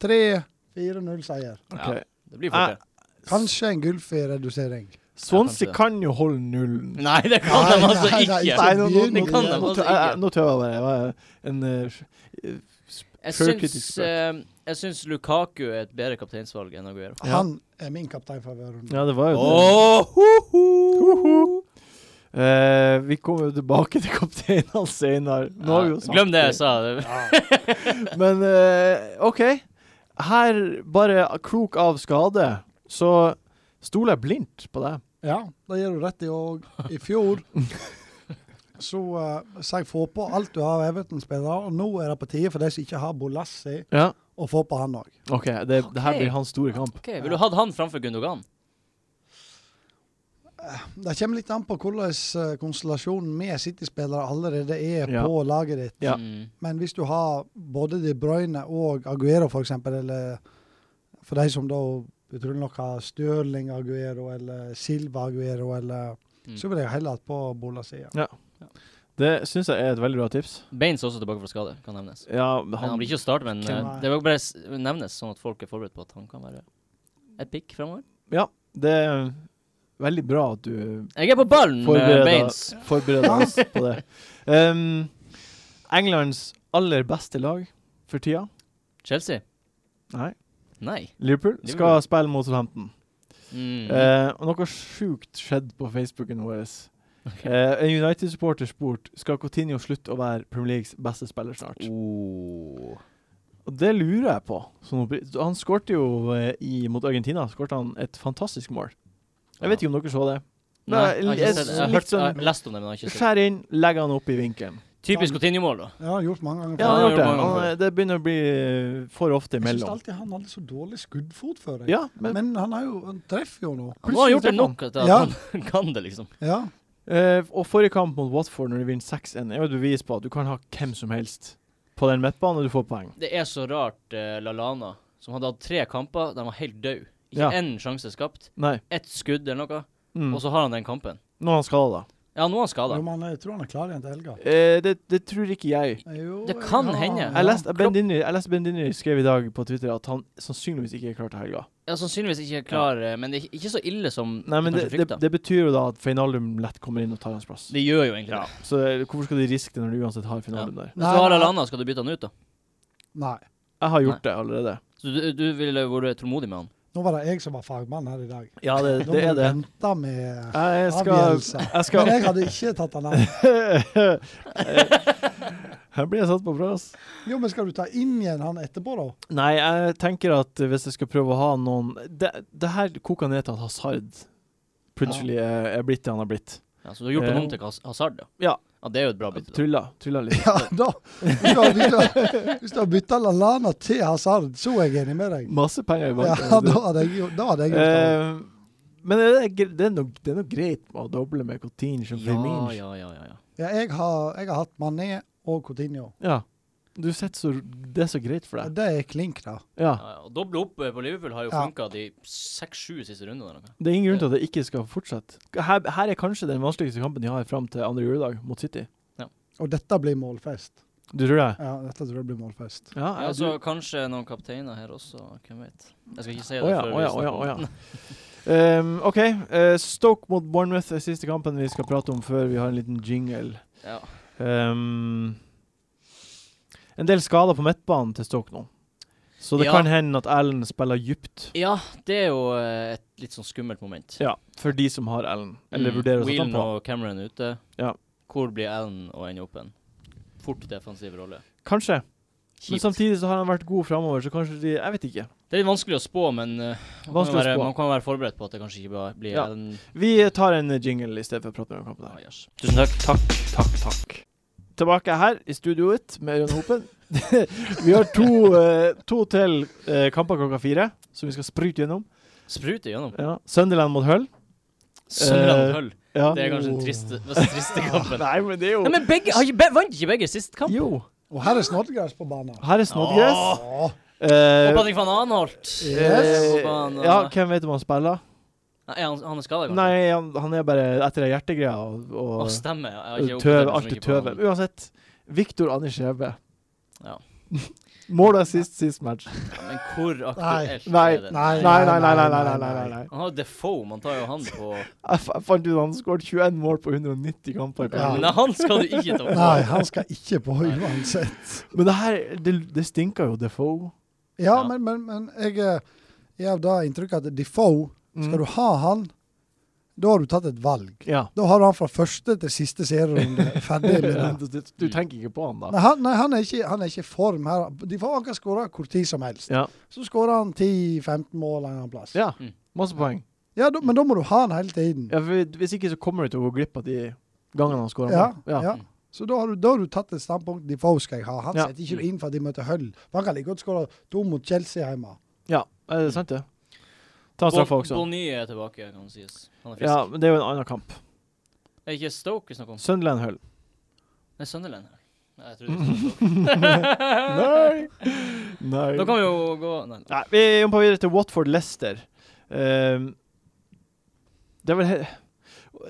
D: 3-4-0-seier.
A: OK. Ah.
B: ja, det blir fort det.
D: Kanskje en gullferie-redusering.
A: Swansea
B: Ja, kanskje det.
A: kan jo holde nullen.
B: Nei, det kan de altså
D: Nei, nei,
B: ikke!
D: nei,
A: Nei, nå, nå, nå,
B: Det kan de
A: nå,
B: altså
A: jeg- jeg-
B: ikke.
A: nå tør jeg bare. Jeg var en eh, sj-
B: Jeg
A: Sjølkritisk
B: syns, eh, jeg syns Lukaku er et bedre kapteinsvalg enn Aguero.
A: Ja.
D: Han er min kaptein for hver runde.
A: Ja, det var jo det.
B: Åh, ho, ho.
A: Hoho. Eh, vi kommer jo tilbake til kapteinene senere. Nå har vi jo
B: Ja,
A: sagt
B: Glem det altså. jeg sa. Det-
A: Men eh, OK. Her, bare klok av skade, så stoler jeg blindt på deg.
D: Ja, det gjør du rett i. Og i
A: (laughs)
D: fjor så eh, sa jeg få på alt du har av Everton-spillere, og nå er det på tide for de som ikke har Bolassi,
A: Ja.
D: å få på han òg.
A: OK, det, det her
B: Ok.
A: blir hans store kamp.
B: Ok, Vil du hatt han framfor Gundogan?
D: Eh, Det kommer litt an på hvordan eh, konstellasjonen med City-spillere allerede er
A: Ja.
D: på laget ditt.
A: Ja.
B: Mm.
D: Men hvis du har både De Bruyne og Aguero, for eksempel, eller for de som da utrolig nok har Stirling Aguero eller Silva Aguero, eller
B: Mm.
D: Så vil jeg heller hatt på Bolassi. Ja.
A: Det syns jeg er et veldig bra tips.
B: Baines er også tilbake fra skade, kan nevnes.
A: Ja,
B: Men han blir ikke å starte, men
D: Hvem
B: eh,
D: er-
B: det vil bare s- nevnes, sånn at folk er forberedt på at han kan være et pick framover.
A: Ja, det er veldig bra at du
B: Jeg er på ballen med
A: Forbereder-
B: Baines.
A: forbereder oss på det. Um, Englands aller beste lag for tida,
B: Chelsea?
A: nei,
B: Nei.
A: Liverpool, skal
B: Liverpool.
A: spille mot Southampton.
B: Mm.
A: Eh, og noe sjukt skjedde på Facebooken vår. Eh, en United-supporter spurte skal Coutinho slutte å være Premier Leagues beste spiller snart.
B: Oh.
A: Og det lurer jeg på. Sånn oppri- han skårte jo eh, i, mot Argentina skårte han et fantastisk mål. Jeg vet ikke om dere så det.
B: Nei,
A: Nei,
B: jeg har ikke
A: jeg
B: sett det. Jeg
A: litt
B: har, hørt, jeg
A: sånn-
B: har lest om det, men jeg har ikke sett det.
A: Skjær inn, legg han opp i vinkelen.
B: Typisk Coutinho-mål, da.
D: Ja, han har gjort mange ganger.
A: Ja, han har
B: han har gjort
A: gjort det.
B: mange ganger
A: Han,
B: før.
A: det begynner å bli eh, for ofte
D: jeg syns
A: imellom.
D: alltid han hadde så dårlig skuddfot før. jeg.
A: Ja, men
D: Men han, er jo, han treffer jo nå.
B: Han må ha gjort det
A: treffer han.
B: nok til at
D: Ja.
B: han (laughs) kan det, liksom.
D: Ja.
A: Eh, og forrige kamp mot Watford, når du vinner 6-1, er jo et bevis på at du kan ha hvem som helst på den midtbanen, og du får poeng.
B: Det er så rart eh, Lalana, som hadde hatt tre kamper der han var helt død. Ikke
A: Ja.
B: én sjanse skapt.
A: Nei.
B: Ett skudd eller noe,
A: Mm.
B: og så har han den kampen.
A: Nå er han skada.
B: Ja, nå er han
D: Jo,
B: skada.
D: men jeg tror han er klar igjen til helga.
A: Eh, det, det tror ikke jeg.
D: Jo,
B: Det kan
D: ja,
B: hende.
D: ja.
A: Jeg leste Ben Dinner, jeg leste ben Dinner skrev i dag på Twitter at han sannsynligvis ikke er klar til helga.
B: Ja, sannsynligvis ikke klar, eh, men det er ikke- ikke så ille som
A: Nei, men
B: du
A: det,
B: kanskje
A: det,
B: frykta. Det,
A: det betyr jo da at Feinaldum lett kommer inn og tar hans plass.
B: gjør jo egentlig
A: Ja.
B: det.
A: Så eh, hvorfor skal de riske det når de uansett har Feinaldum der?
B: Hvis du har Lalana, skal du bytte han ut, da?
D: Nei.
A: Jeg har gjort det allerede.
B: Så du, du ville vært tålmodig med han?
D: Nå var det jeg som var fagmann her i dag.
A: Ja, det,
D: Da må
A: det er
D: vi
A: det.
D: vente med
A: Jeg skal,
D: avgjørelser.
A: jeg skal
D: Men jeg hadde ikke tatt han av.
A: Her blir (laughs) jeg satt på plass.
D: Jo, men skal du ta inn igjen han etterpå, da?
A: Nei, jeg tenker at hvis jeg skal prøve å ha noen Det, det her koker ned til at Hazard plutselig er, er blitt det han har blitt.
B: Ja, så du har gjort han
A: Eh,
B: om til Has- Hazard, da?
A: ja.
B: ja. Det er jo et bra bytte. da.
A: Trylla, trylla litt.
D: Ja, (laughs) da. Hvis du har- hvis du har- Hvis du har bytta Lallana til Hazard, så er jeg enig med deg.
A: Masse penger i
D: Ja, da
A: banken.
D: hadde jeg, gjort- da hadde jeg gjort det.
A: Eh, men det er, gre- det, er noe, det er noe greit med å doble med Coutinho som Firmin.
B: Ja, ja, ja, ja, ja.
D: Ja, jeg, har, jeg har hatt Mané og Coutinho.
A: Ja. Du setter så Det er så greit for deg.
D: Det er klink, da.
A: Ja.
B: Ja, ja, og Doble opp eh, på Liverpool har jo
D: Ja.
B: funka de seks-sju siste rundene. eller noe.
A: Det er ingen grunn til at det ikke skal fortsette. Her, her er kanskje den vanskeligste kampen de har fram til andre juledag, mot City.
D: Og dette blir målfest.
A: Du tror det?
D: Ja, dette tror jeg blir målfest.
A: Ja,
B: Ja,
A: jeg-
B: så kanskje noen kapteiner her også, hvem vet. Jeg skal ikke si det
A: Å ja, å
B: før vi
A: ja, å ja,
B: snakker om
A: å
B: det.
A: ja. (laughs) Ehm, OK. eh, Stoke mot Bournemouth er siste kampen vi skal prate om før vi har en liten jingle.
B: Ja.
A: Ehm, en del skader på midtbanen til Stoke nå. Så det
B: Ja.
A: kan hende at Allen spiller dypt.
B: ja, det er jo eh, et litt sånn skummelt moment.
A: Ja, for de som har Allen. Eller
B: Mm.
A: vurderer å sette han
B: Whelan
A: på.
B: og Cameron ute.
A: Ja.
B: Hvor blir Allen og ender opp hen? Fort defensiv rolle.
A: Kanskje. Men
B: Kjipt.
A: samtidig så har han vært god framover, så kanskje de Jeg vet ikke.
B: Det er litt vanskelig å spå, men eh, man, kan
A: Vanskelig å
B: være,
A: spå.
B: man kan være forberedt på at det kanskje ikke bare blir
A: Ja.
B: Allen.
A: Vi tar en jingle i stedet for å prate mer om kampen
B: Ja,
A: her.
B: yes. Tusen takk. Takk, takk, takk.
A: Tilbake her i studioet med Ørjan Hopen. (laughs) vi har to, eh, to til eh, kamper klokka fire som vi skal sprute gjennom.
B: Sprute gjennom.
A: Ja. Sunderland mot Hull.
B: Sunderland Hull.
A: Ja.
B: Det er kanskje den triste, mest triste kampen.
A: Eh, Nei, men det er jo
B: Nei, men begge, har ikke, be, vant ikke begge sist kamp?
A: Jo.
D: Og her er Snodgrass på banen.
A: Her er Snodgrass.
D: Åh,
B: Og
A: Eh,
B: Patrick van Anholt.
D: Yes.
A: eh, ja, hvem vet om han spiller?
B: Nei, er han, han er skada, kanskje?
A: Nei, han, han er bare etter det hjertegreia og,
B: Å,
A: og
B: stemmer. ja. Jeg har ikke
A: tøv,
B: oppdatert så mye
A: alltid
B: på
A: tøve.
B: han.
A: Uansett, Viktor Anders Skjeve. (laughs)
B: Ja.
A: Målet sist, sist match.
B: Ja, Men hvor aktuelt
A: Nei,
B: er det?
D: Nei,
A: Nei, nei, nei, nei. nei, nei, nei, nei.
B: Han har jo Defoe, man tar jo han på
A: Jeg fa- fant ut at han skåret 21 mål på 190 kamper. i
D: Ja.
A: Premier League.
B: Nei, han skal du ikke ta på.
D: Nei, han skal ikke på uansett.
A: Men det her, det, det stinker jo Defoe.
D: Ja,
B: Ja.
D: men, men, men jeg, eh, jeg har da inntrykk av at Defoe,
A: Mm.
D: skal du ha han, da har du tatt et valg.
A: Ja.
D: Da har du han fra første til siste
A: (laughs)
D: serierunde ferdig med det.
A: Du, du tenker ikke på han, da.
D: Nei, han, nei, han er ikke han er ikke i form her. Defoe han kan skåre hvor tid som helst.
A: Ja.
D: Så skårer han 10-15 mål en annen plass.
A: ja.
B: Mm.
A: Masse poeng.
D: Ja, da, men da må du ha han hele tiden.
A: Ja, for hvis ikke så kommer du til å gå glipp av de gangene han skårer.
D: Ja,
A: mål.
D: ja.
B: Mm.
D: Så da har, du, da har du tatt et standpunkt. Defoe skal jeg ha. Han
A: Ja.
D: setter ikke du inn for at de møter Hull. For Han kan like godt skåre to mot Chelsea hjemme.
A: ja. Er det sant, det? Ta en straffe også.
B: Bonny er tilbake, kan det sies. Han er frisk.
A: Ja, men det er jo en annen kamp.
B: Er ikke Stoke vi snakker om?
A: Sunderland Hull.
B: Nei, Sunderland. her. Nei, jeg
A: (laughs)
B: trodde det var Stoke.
A: Nei! Nei.
B: Da kan vi jo gå Nei, nei.
A: Nei, vi jumper videre til Watford Leicester. Ehm, det er vel he-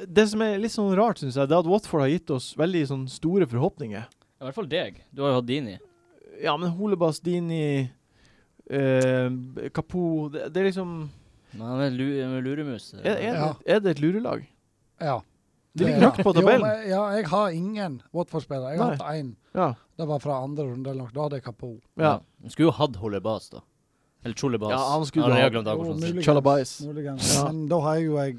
A: Det som er litt sånn rart, syns jeg, det er at Watford har gitt oss veldig sånn store forhåpninger.
B: i hvert fall deg. Du har jo hatt Dini.
A: Ja, men Holebas, Dini, uh, Kapo det, det er liksom
B: Men han er lu, en luremus. eh,
A: er, er,
D: Ja.
A: det, er det et lurelag?
D: Ja.
A: Det ligger høyt på
D: Jo,
A: tabellen.
D: men ja, jeg har ingen Watford-spillere. Jeg har
A: Nei.
D: hatt én.
A: Ja.
D: Det var fra andre runde eller noe. Da hadde jeg Kapo.
A: ja.
B: Han skulle jo hatt Holebas, da. Eller Cholebas.
A: Ja, han skulle
B: Har jeg
A: ha-
B: glemt
D: Jo,
B: hvordan han sier.
D: muligens,
A: sånn. Chalabais.
D: muligens.
A: Ja.
D: Men da har jeg jo jeg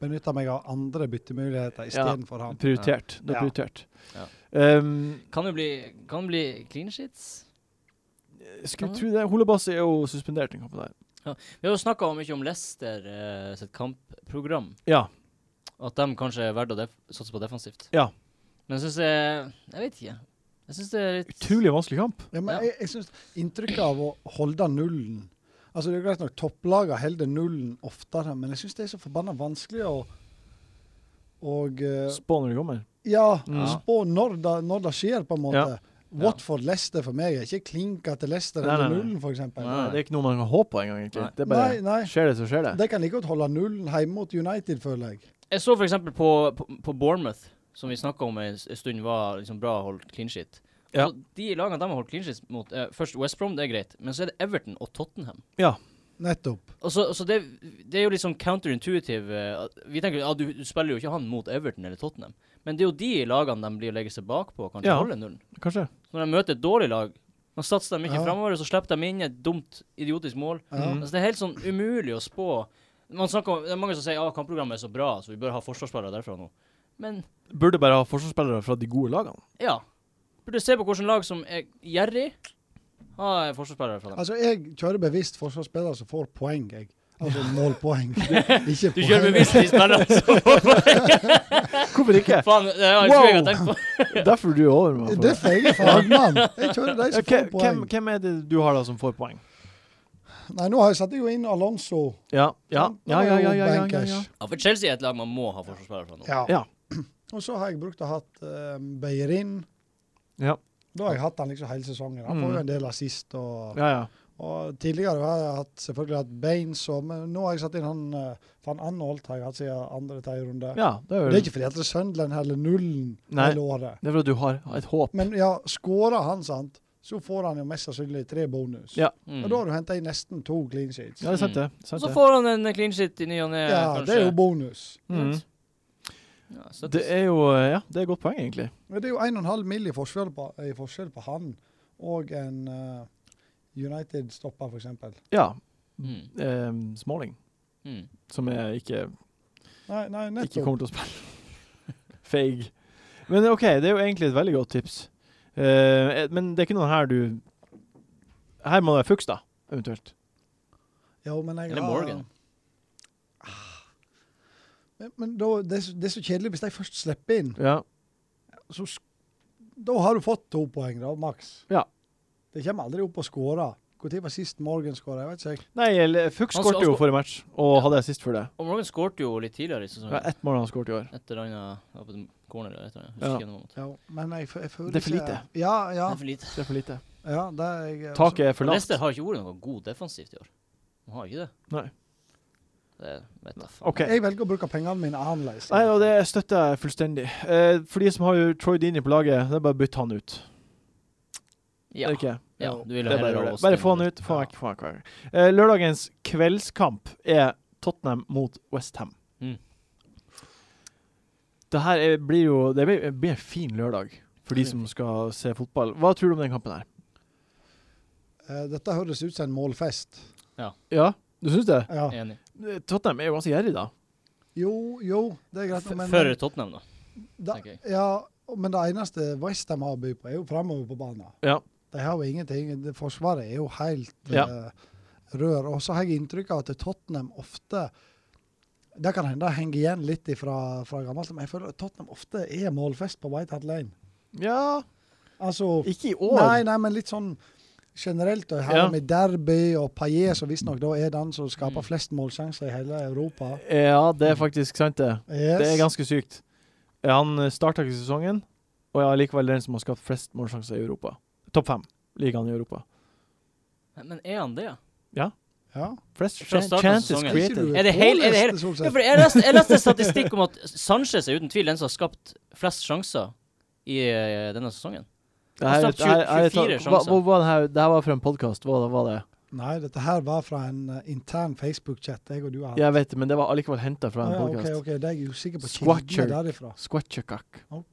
D: benytta meg av andre byttemuligheter istedenfor han.
A: Prioritert. Det
D: Ja.
A: er prioritert.
B: Ja.
A: Ehm,
B: Kan jo bli, kan bli clean sheets.
A: skulle tro det. Holebas er jo suspendert i kampen der.
B: Vi har jo snakka mye om Leicester eh, sitt kampprogram.
A: Ja.
B: At de kanskje er verdt å def satse på defensivt.
A: Ja.
B: Men jeg syns jeg Jeg vet ikke. Jeg syns det er litt
A: Utrolig vanskelig kamp.
D: Ja, men
B: Ja.
D: jeg, jeg synes inntrykket av å holde nullen Altså Det er jo greit nok topplagene holder nullen oftere, men jeg syns det er så forbanna vanskelig å og, eh,
A: Spå når det kommer.
D: Ja,
A: Mm.
D: spå når det, når det skjer, på en måte.
A: Ja.
D: Watford Leicester for meg er ikke klinka til Leicester
A: Nei,
D: eller
A: nei, nei.
D: nullen, f.eks.
A: Nei, det er ikke noe man kan håpe på engang, egentlig.
B: Nei.
A: Det er bare
D: Nei, nei.
A: Skjer det, så skjer det.
D: De kan like godt holde nullen hjemme mot United, føler jeg.
B: Jeg så for eksempel på, på, på Bournemouth, som vi snakka om en s- en stund var liksom bra å holde clean shit.
A: Ja.
B: Og de lagene de har holdt clean shit mot, eh, først West Brom, det er greit, men så er det Everton og Tottenham.
D: Nettopp.
B: Og så, så det, det er jo litt sånn counterintuitive eh, at Vi tenker at du, du spiller jo ikke han mot Everton eller Tottenham, men det er jo de lagene de blir å legge seg bakpå og kanskje
A: Ja.
B: holde nullen.
A: Kanskje.
B: Så når de møter et dårlig lag, da satser de ikke
D: Ja.
B: fremover, og så slipper de inn et dumt, idiotisk mål.
D: Ja.
A: Mm.
B: Altså, det er helt sånn umulig å spå. Man snakker om, det er mange som sier at ah, kampprogrammet er så bra, så vi bør ha forsvarsspillere derfra nå. Men
A: Burde bare ha forsvarsspillere fra de gode
D: (laughs)
A: lagene.
B: ja. Burde se på hvilke lag som er gjerrig, ha eh, forsvarsspillere fra dem.
D: Altså, jeg kjører bevisst forsvarsspillere som får poeng, jeg. Altså
A: (laughs)
D: målpoeng. ikke
B: Du
D: poeng.
B: kjører bevisst de spillerne
D: (laughs)
B: som
A: Hvorfor ikke?
B: Faen, det har ikke jeg
A: Wow.
B: har tenkt på.
A: (laughs) Derfor du er over meg. for
D: Det er
A: det.
D: feige fagmann. Jeg kjører de
A: Ja,
D: som
A: hvem-
D: får poeng.
A: Hvem, hvem er det du har da som får poeng?
D: Nei, nå har jeg satt jo inn Alonso.
A: Ja, ja,
D: Han-
A: ja.
D: han
A: ja,
D: er jo
A: ja, ja, ja, ja, ja.
D: bankers.
B: Ja, for Chelsea er et lag man må ha forsvarsspillere fra nå.
D: Ja.
A: Ja.
D: Og så har jeg brukt å hatt um, Beirin.
A: Ja. Mm.
D: Da har jeg hatt han liksom hele sesongen. Han får jo en del assist. Og,
A: ja, ja.
D: og tidligere har jeg hatt, selvfølgelig hatt Baines, og, men nå har jeg satt inn han eh, Van Anholt har jeg hatt siden andre-tredje runde.
A: ja det, er
D: Det er
A: jo,
D: ikke fordi at det er Sunderland eller nullen
A: Nei.
D: hele året.
A: det er for at du har et håp.
D: Men ja, skårer han, sant, så får han jo mest sannsynlig tre bonus.
A: Ja.
B: Mm.
D: Og da har du henta inn nesten to clean sheets.
A: Ja, det er sant, det.
B: Og
A: Sant
B: så
A: det.
B: får han en clean shit i ny og
A: Eh,
B: ne,
D: Ja,
B: kanskje.
D: det er jo bonus.
A: Mm.
B: Ja, så
A: Det er jo eh, Ja, det er et godt poeng, egentlig.
D: Men Det er jo 1,5 mill. I, forskjell på- i forskjell på han og en eh, United-stopper, f.eks.
A: Ja.
B: Mm.
A: ehm, Smalling,
B: Mm.
A: som jeg ikke,
D: Nei, nei,
A: ikke
D: nettopp.
A: kommer til å spille. (laughs) Feig. Men OK, det er jo egentlig et veldig godt tips. Eh, eh, men det er ikke noen her du Her må det være Fuchs, da, eventuelt.
D: Jo, men jeg,
B: Eller
D: har-
B: Morgan.
D: Men, men da, det, er så, det er så kjedelig hvis de først slipper inn.
A: Ja.
D: Så, sk- da har du fått to poeng, da, maks.
A: Ja.
D: De kommer aldri opp og skårer. Når var sist Morgan skåra? Jeg vet ikke. jeg.
A: Nei, eller Fuchs
B: Han skal-
A: skårte jo forrige match, og hadde jeg sist for det.
B: Og Morgan skårte jo litt tidligere i
A: Det er
B: sesongen.
A: ett mål han skåret i år.
B: Et eller annet ja, på den corner eller et eller annet.
A: Ja.
B: Husker ikke noe om det.
D: Jo, men jeg, f- jeg føler
A: Det er for
D: ikke-
A: lite.
D: Ja,
B: Det
D: ja.
B: er for lite.
A: Det er for lite.
D: ja det er jeg,
A: Taket er for lavt.
B: Leicester har ikke vært noe god defensivt i år. De har ikke det.
A: Nei.
B: Det vet jeg faen.
A: OK.
D: Jeg velger å bruke pengene mine annerledes.
A: Nei, og det støtter jeg fullstendig. Eh, for de som har jo Troy Dini på laget, det er bare å bytte han ut.
B: Ja.
A: Er det ikke?
B: ja, du vil
A: Det er
B: jo
A: bare, å
B: heller
A: gjøre
B: ha
A: det.
B: oss
A: bare
B: til-
A: få han ut. Få han
B: Ja.
A: vekk. Få han vekk. Eh, lørdagens kveldskamp er Tottenham mot Westham.
B: Mm.
A: Det her er, blir jo Det blir, blir en fin lørdag for de
B: Det blir
A: som skal se fotball. Hva tror du om den kampen her?
D: Eh, Dette høres ut som en målfest.
A: Ja, du syns det?
D: Ja.
B: Enig.
A: Eh, Tottenham er jo ganske gjerrig, da.
D: Jo, jo, det er greit.
B: F-
D: men-
B: Før Tottenham, da.
D: Da,
B: tenker jeg.
D: ja, men det eneste Westham har å by på, er jo framover på banen.
A: Ja.
D: De har jo ingenting. Det- Forsvaret er jo helt
A: Ja.
D: eh, rør. Og så har jeg inntrykk av at Tottenham ofte Det kan hende det henger igjen litt fra, fra gammelt, men jeg føler at Tottenham ofte er målfest på White Hart Lane.
A: Ja
D: Altså
A: Ikke i år.
D: Nei, nei, men litt sånn generelt. Og her
A: Ja.
D: med Derby og Paillet, som visstnok da er den som skaper
B: Mm.
D: flest målsjanser i hele Europa.
A: Ja, det er faktisk sant, det.
D: Yes.
A: Det er ganske sykt. Ja, Han starta ikke sesongen, og er likevel den som har skapt flest målsjanser i Europa. Topp fem ligaen i Europa.
B: Men er han det, ja?
D: ja.
A: Flest
B: Fra
A: chan-
B: starten av
A: chances
B: sesongen.
A: created.
B: Er det hel- er det hel-
D: Påleste, Solseth.
B: Ja, for jeg leste, jeg leste statistikk om at Sanchez er uten tvil den som har skapt flest sjanser i eh, denne sesongen.
A: Det her, det
B: Han
A: her,
B: skapte 24
A: det her- hva,
B: sjanser.
A: hva, var det, her, det her var fra en podkast, hva, hva var det?
D: Nei, dette her var fra en eh, intern Facebook-chat jeg og du har hatt.
A: Jeg vet det, men det var allikevel henta fra en
D: Ah, ok,
A: podkast.
D: ok, det er jeg usikker på.
A: Squatcher.
D: Squatcher. derifra.
A: Squatchekak.
D: Ok.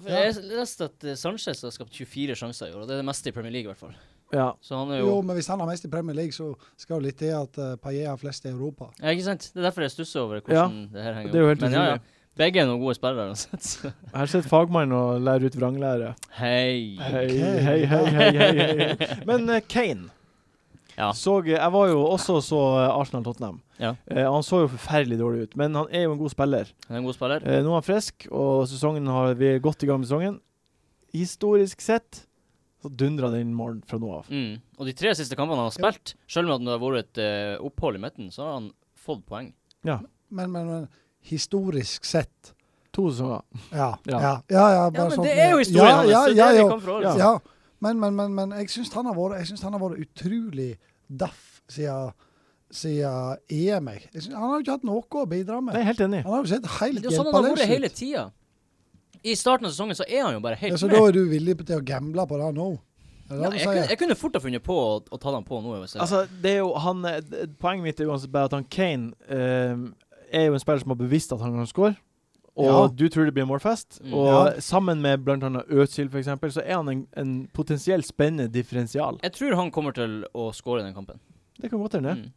B: For Jeg leste at eh, Sanchez har skapt 24 sjanser i år, og det er det meste i Premier League i hvert fall.
A: Ja.
B: Så han er jo
D: Jo, men hvis han har mest i Premier League, så skal det litt til at uh, Paillet har flest i Europa.
B: Ja, ikke sant? Det er derfor jeg stusser over
A: Ja,
B: hvordan det her henger
A: det er jo helt
B: Men ja, ja. Begge er noen gode spillere uansett. så.
A: Her sitter fagmannen og lærer ut vranglære.
B: Hei. (laughs)
A: Hei, hei, hei, hei, hei, hei. Men eh, Kane
B: Ja.
A: Så, eh, jeg var jo også så eh, Arsenal-Tottenham.
B: Ja.
A: Eh, han så jo forferdelig dårlig ut, men han er jo en god spiller.
B: Han er en god spiller.
A: Eh, nå er han frisk, og sesongen har, vi er godt i gang med sesongen. Historisk sett så dundrer han inn mål fra nå av.
B: Mm. Og de tre siste kampene han har spilt, selv om det har vært et eh, opphold i midten, så har han fått poeng.
D: Men, men, men historisk sett
A: To sesonger.
D: Ja.
A: Ja.
D: Ja, ja, ja,
B: Ja,
D: bare
B: men
D: sånn-
B: det er jo historien
D: ja,
B: hans!
D: Ja,
B: det er
D: ja,
B: det
D: ja,
B: vi kan forholde
A: Ja.
B: oss til.
D: Ja, men, men, men, men jeg syns han har vært jeg synes han har vært utrolig daff siden, siden EM. Jeg. Jeg synes, han har jo ikke hatt noe å bidra
A: Jeg
D: med.
A: er helt enig.
D: Han har jo sett
B: Men
D: helt
B: Det er jo sånn han har
D: hjelpeløs
B: vært hele
D: ut.
B: tida. I starten av sesongen så er han jo bare
D: Ja,
B: helt
D: så da
B: med.
D: er du villig til å gamble på det nå? Er det
B: Ja,
D: det du
B: jeg, kunne,
D: sier?
B: jeg kunne fort ha funnet på å, å ta den på nå. Hvis jeg,
A: Altså, det er jo han eh, d- Poenget mitt er uansett bare at han Kane eh, er jo en spiller som har bevisst at han kan score. Og
D: Ja.
A: du tror det blir en målfest.
B: Mm.
A: Og
D: Ja.
A: sammen med bl.a. Øzil, f.eks., så er han en, en potensielt spennende differensial.
B: jeg tror han kommer til å skåre i den kampen.
A: Det kan godt hende.
B: Mm.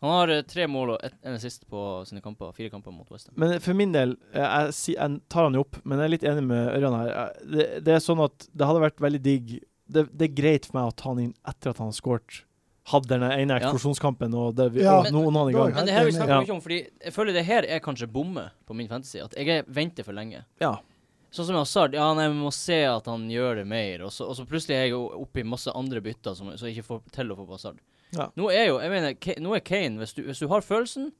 B: Han har eh, tre mål og ett- en assist på sine kamper, fire kamper mot Westham.
A: Men for min del, eh, jeg, si- jeg tar han jo opp, men jeg er litt enig med Ørjan her. Eh, Det, det er sånn at det hadde vært veldig digg det, det er greit for meg å ta han inn etter at han har skåret. Hadde den ene
B: Ja.
A: eksplosjonskampen og, det, vi-
D: Ja.
A: og nå nå er han i
D: Da er
A: gang.
B: Men
D: Helt
B: det her vi
D: enig.
B: snakker
A: Ja.
B: mye om, fordi jeg føler det her er kanskje bommet på min fantasy. At jeg er- venter for lenge.
A: Ja.
B: Sånn som Hazard, ja, nei, vi må se at han gjør det mer. Og så, og så plutselig er jeg jo oppe i masse andre bytter som som jeg ikke får til å få på Hazard.
A: Ja.
B: Nå er jo, jeg mener, Ka- nå er Kane, hvis du, hvis du har følelsen,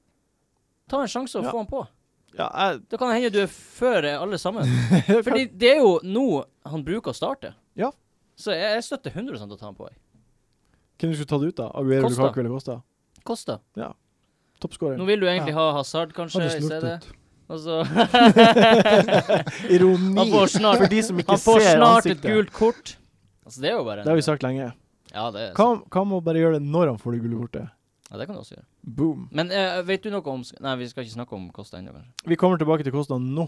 B: ta en sjanse og
A: Ja.
B: få han på.
A: ja jeg,
B: Da kan det hende du er før eh, alle
A: (laughs)
B: sammen. Fordi det er jo nå han bruker å starte.
A: Ja.
B: Så jeg, jeg støtter 100 å ta han på. jeg.
A: Hvem du skulle tatt ut, da? Aguero
B: Costa.
A: Lukaku eller Costa?
B: Kosta.
A: Toppskårer.
B: Nå vil du egentlig ha Hazard, kanskje,
D: Hadde
B: i
D: slurt
B: stedet.
D: ut.
B: Og så
A: (laughs)
B: (laughs)
A: Ironi
B: Han får snart-
A: for de som ikke
B: Han får
A: ser
B: snart et
A: ansiktet.
B: gult kort. Altså, det er jo bare en,
A: Det har vi sagt lenge.
B: Ja, det, er,
A: Hva hva med å bare gjøre det når han får det gule kortet?
B: ja, det kan du også gjøre.
A: Boom.
B: Men eh, vet du noe om sk- Nei, vi skal ikke snakke om Kosta ennå, kanskje.
A: Vi kommer tilbake til Costa nå,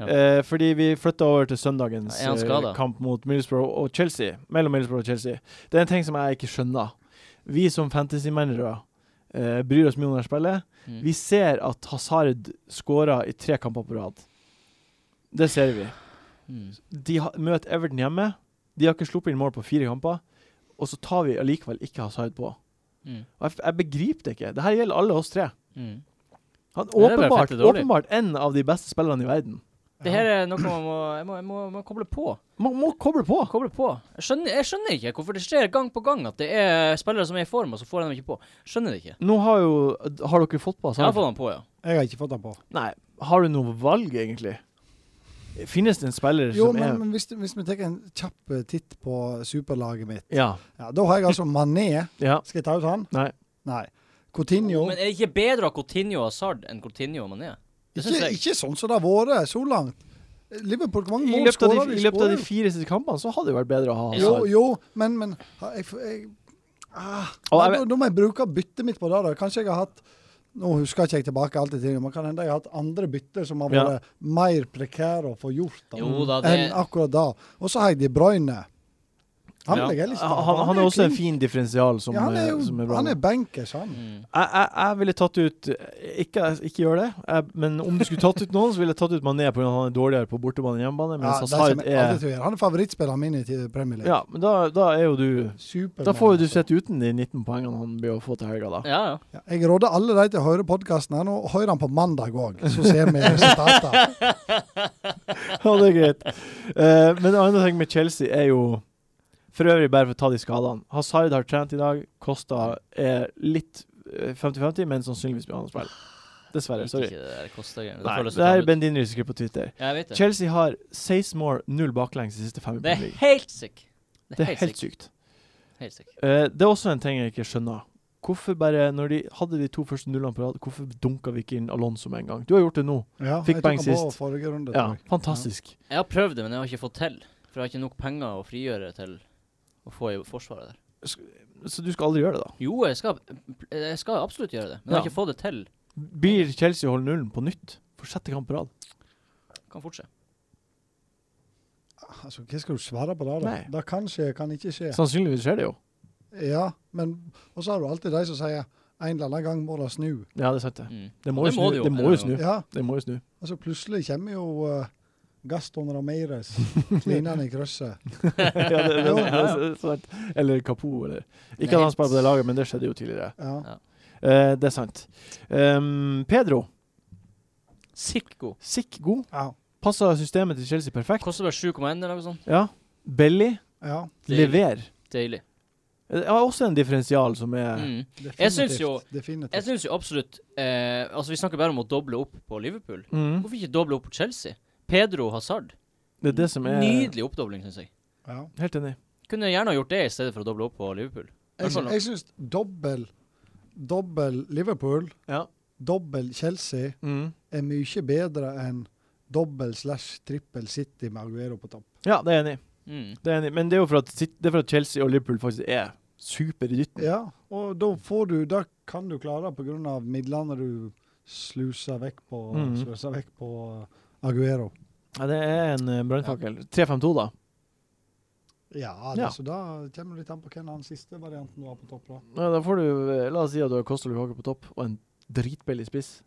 B: Ja.
A: eh, fordi vi flytta over til søndagens
B: Er han
A: eh,
B: skadet?
A: kamp mot Middlesbrough og Chelsea. Mellom Middlesbrough og Chelsea. Det er en ting som jeg ikke skjønner. Vi som fantasy-managere eh, bryr oss mye om det her spillet.
B: Mm.
A: Vi ser at Hazard skårer i tre kamper på rad. Det ser vi.
B: Mm.
A: De ha, møter Everton hjemme. De har ikke sluppet inn mål på fire kamper. Og så tar vi allikevel ikke Hazard på.
B: Mm.
A: Og jeg, f- jeg begriper det ikke. Dette gjelder alle oss tre.
B: Mm.
A: Han
B: Ja, det er bare
A: åpenbart,
B: fette dårlig.
A: åpenbart en av de beste spillerne i verden.
B: Det her er noe man må, jeg må, jeg må, må koble på.
A: Man må koble på!
B: Koble på. Jeg skjønner, jeg skjønner ikke hvorfor det skjer gang på gang at det er spillere som er i form, og så får de dem ikke på. Skjønner det ikke.
A: Nå har jo Har dere fått på
B: Jeg har
A: Hazard?
B: fått han på, ja.
D: Jeg har ikke fått den på.
A: Nei. Har du noe valg, egentlig? Finnes det en spiller
D: Jo,
A: som
D: men,
A: er
D: men hvis, du- hvis vi tar en kjapp eh, titt på superlaget mitt
A: Ja.
D: ja, Da har jeg altså Mané.
A: ja.
D: Skal jeg ta ut han?
A: Nei.
D: Nei. Coutinho.
B: Men er det ikke bedre å ha Coutinho og Hazard enn Coutinho og Mané? Det syns
D: Ikke,
B: jeg.
D: ikke sånn som det har vært så langt. Liverpool, hvor mange
A: I
D: mål
A: løpet, av
D: skåra
A: de,
D: de?
A: I løpet av de
D: skårer
A: fire siste kampene så hadde det vært bedre å ha
B: Ja.
D: jo,
A: Hazard.
D: jo, men, men ha- jeg, jeg, ah,
A: Og jeg
D: da, da må jeg bruke byttet mitt på det. da. Kanskje jeg har hatt Nå husker ikke jeg tilbake alt det tidligere, men kan hende jeg har hatt andre bytter som har
A: Ja.
D: vært mer prekære å få gjort da,
B: Jo da, det
D: enn akkurat da. Og så har jeg De Bruyne. Han
B: Ja.
D: ligger litt
A: Han, han, han er også en fin differensial som,
D: ja, han er,
A: eh, som
D: jo,
A: er bra.
D: han er bankers, han.
B: mm.
A: Jeg, jeg, jeg ville tatt ut Ikke, ikke gjør det, jeg, men om du skulle tatt ut noen, så ville jeg tatt ut Mané pga. at han er dårligere på bortebane enn hjemmebane.
D: Ja,
A: Mens
D: det
A: Hazard
D: kommer jeg aldri
A: er
D: til å gjøre. Han er favorittspilleren min i til Premier League.
A: eh, Ja, men da, da er jo du
D: Supermann,
A: Da får jo du
D: altså.
A: sitte uten de 19 poengene han blir å få til helga, da.
B: Ja, ja.
D: Ja, jeg råder alle de til å høre podkasten her nå. Hør den på mandag òg, så ser
A: (laughs)
D: vi resultatene.
A: Ja, det er greit. Eh, men det andre ting med Chelsea er jo For øvrig, bare for å ta de skadene. Hazard har trent i dag. Costa er litt eh, 50-50, men sannsynligvis blir han å spille. Dessverre.
B: Liker
A: Sorry.
B: ikke det der Costa-greiene. Det
A: Nei,
B: føles
A: det er
B: så tamt ut.
A: Bendinry som skriver på Twitter.
B: Ja, jeg vet det.
A: Chelsea har 16 mål, null baklengs de siste fem i
B: Det er
A: Premier League.
B: helt sick.
A: Det er helt sykt.
B: Helt sick.
A: Eh, det er også en ting jeg ikke skjønner. Hvorfor bare, når de hadde de to første nullene på rad, hvorfor dunka vi ikke inn Alonso med en gang? Du har gjort det nå.
D: Ja,
A: Fikk
D: jeg tok
A: poeng
D: den på
A: sist.
D: Forrige runde,
A: Ja,
D: tror jeg.
A: fantastisk.
B: Jeg har prøvd det, men jeg har ikke fått til. For jeg har ikke nok penger å frigjøre til å få i forsvaret der.
A: Så du skal aldri gjøre det, da.
B: Jo, jeg skal, jeg skal absolutt gjøre det, men jeg har
A: Ja.
B: ikke fått det til.
A: Blir Chelsea å holde nullen på nytt for sjette kamp på rad?
B: Kan fortsette.
D: Altså, hva skal du svare på det? da?
A: Nei.
D: Det kan skje, kan ikke skje.
A: Sannsynligvis skjer det jo.
D: Ja, men Og så har du alltid de som sier en eller annen gang må det snu.
A: Ja, det er sant, det.
B: Mm.
A: Det må
B: Og
A: jo snu. Det må jo
B: en
A: snu. (laughs)
B: eller annen gang.
D: Ja,
A: Det må jo snu.
D: altså plutselig kommer jo eh, Gaston
A: (laughs)
D: Ramirez klinende i krysset.
A: ja, det, det, det, det er sant. Eller Kapo, eller Ikke at han spiller på det laget, men det skjedde jo tidligere.
D: Ja.
A: Eh, det er sant. Ehm, Pedro,
B: Sikkert god.
A: sikk god.
D: Ja.
A: Passer systemet til Chelsea perfekt.
B: Koster bare 7,1 eller noe sånt.
A: Ja. Belly,
D: ja.
B: Deilig.
A: lever.
B: Deilig.
A: Eh, Det er også en differensial som er
B: Mm.
D: Definitivt.
B: Jeg syns jo-
D: Definitivt.
B: Jeg syns jo absolutt eh, Altså, vi snakker bare om å doble opp på Liverpool.
A: Mm.
B: Hvorfor ikke doble opp på Chelsea? Pedro Hazard.
A: Det er det som er
B: Nydelig oppdobling, syns jeg.
D: ja.
A: Helt enig.
B: Kunne gjerne ha gjort det i stedet for å doble opp på Liverpool.
D: Jeg, sy- jeg syns dobbel dobbel Liverpool,
A: Ja.
D: dobbel Chelsea,
A: Mm.
D: er mye bedre enn dobbel slash trippel City med Aguero på topp.
A: Ja, det er jeg enig. i.
B: Mm.
A: Det er jeg enig. i. Men det er jo for at, Sit- det er for at Chelsea og Liverpool faktisk er super i dytten.
D: Ja, og da får du Da kan du klare pga. midlene du sluser vekk på,
A: Mhm.
D: sløser vekk på Aguero.
A: Ja, det er en eh, brannfakkel. 3-5-2, da.
D: Ja,
A: Ja.
D: Så da kommer det litt an på hvem den siste varianten var på topp. da.
A: Ja, da får du eh, La oss si at du har Kosta Lukaku på topp og en dritbillig spiss.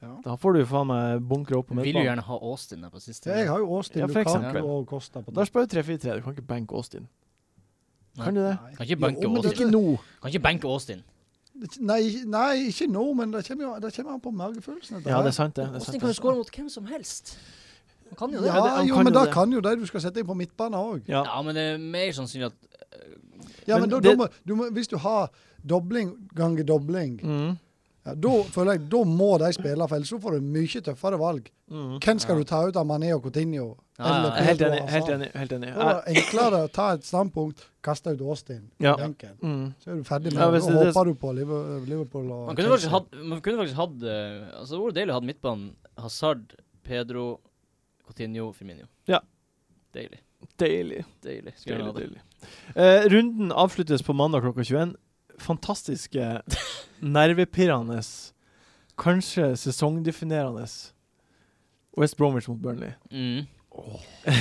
D: Ja.
A: Da får du faen meg bunkre opp på
B: Vil jo
A: midtbanen.
B: gjerne ha Austin der på siste.
D: Jeg har jo Austin,
A: Ja, for
D: Lukaku
A: eksempel.
D: og Costa på
A: Da
D: topp.
A: spiller du 3-4-3. Du kan ikke banke Austin. Kan du det?
D: Nei.
B: Kan ikke
D: Jo,
B: banke
D: men det-
A: Ikke nå.
B: Kan ikke benke Austin.
D: det- Nei, nei, ikke nå, men det kommer, jo, det kommer an på magefølelsen. dette
A: Ja,
D: her.
A: det er sant, det. det, er sant,
B: Austin kan jo
A: det.
B: skåre mot hvem som helst. Han kan jo det.
D: ja,
A: Ja, det- han
D: jo,
A: kan
D: men
A: jo
D: da
A: det.
D: kan jo de du skal sette inn på midtbanen òg.
A: Ja.
B: Ja, men det er mer sannsynlig at
D: Ja,
A: Men
D: men da,
A: det-
D: da må, du må, hvis du har dobling ganger dobling,
A: Mm.
D: ja, da føler jeg da må de spille, for ellers så får du mye tøffere valg.
A: Mm.
D: Hvem skal
B: Ja.
D: du ta ut av Mané og Coutinho?
B: Ja, ja,
D: Eller
A: Jeg er Helt
D: Pedro
A: enig.
D: Hazard?
A: Helt enig. Helt enig.
D: altså. Da er det enklere å ta et standpunkt, kaste ut Austin
A: Ja.
D: på benken.
A: Mm.
D: Så er du ferdig med
A: Ja,
D: det.
A: hvis
D: Da
A: det- det-
D: håper du på Liver- Liverpool og
B: Man kunne faktisk hatt Man kunne faktisk hatt eh, Altså, det hadde vært deilig å ha midtbanen Hazard, Pedro, Coutinho, Firmino.
A: Ja.
B: Deilig.
A: Deilig.
B: Deilig. Skulle gjerne
A: Deilig,
B: ha det.
A: deilig. Eh, runden avsluttes på mandag klokka 21. Fantastiske, nervepirrende, kanskje sesongdefinerende West Bromwich mot Burnley.
B: Mm.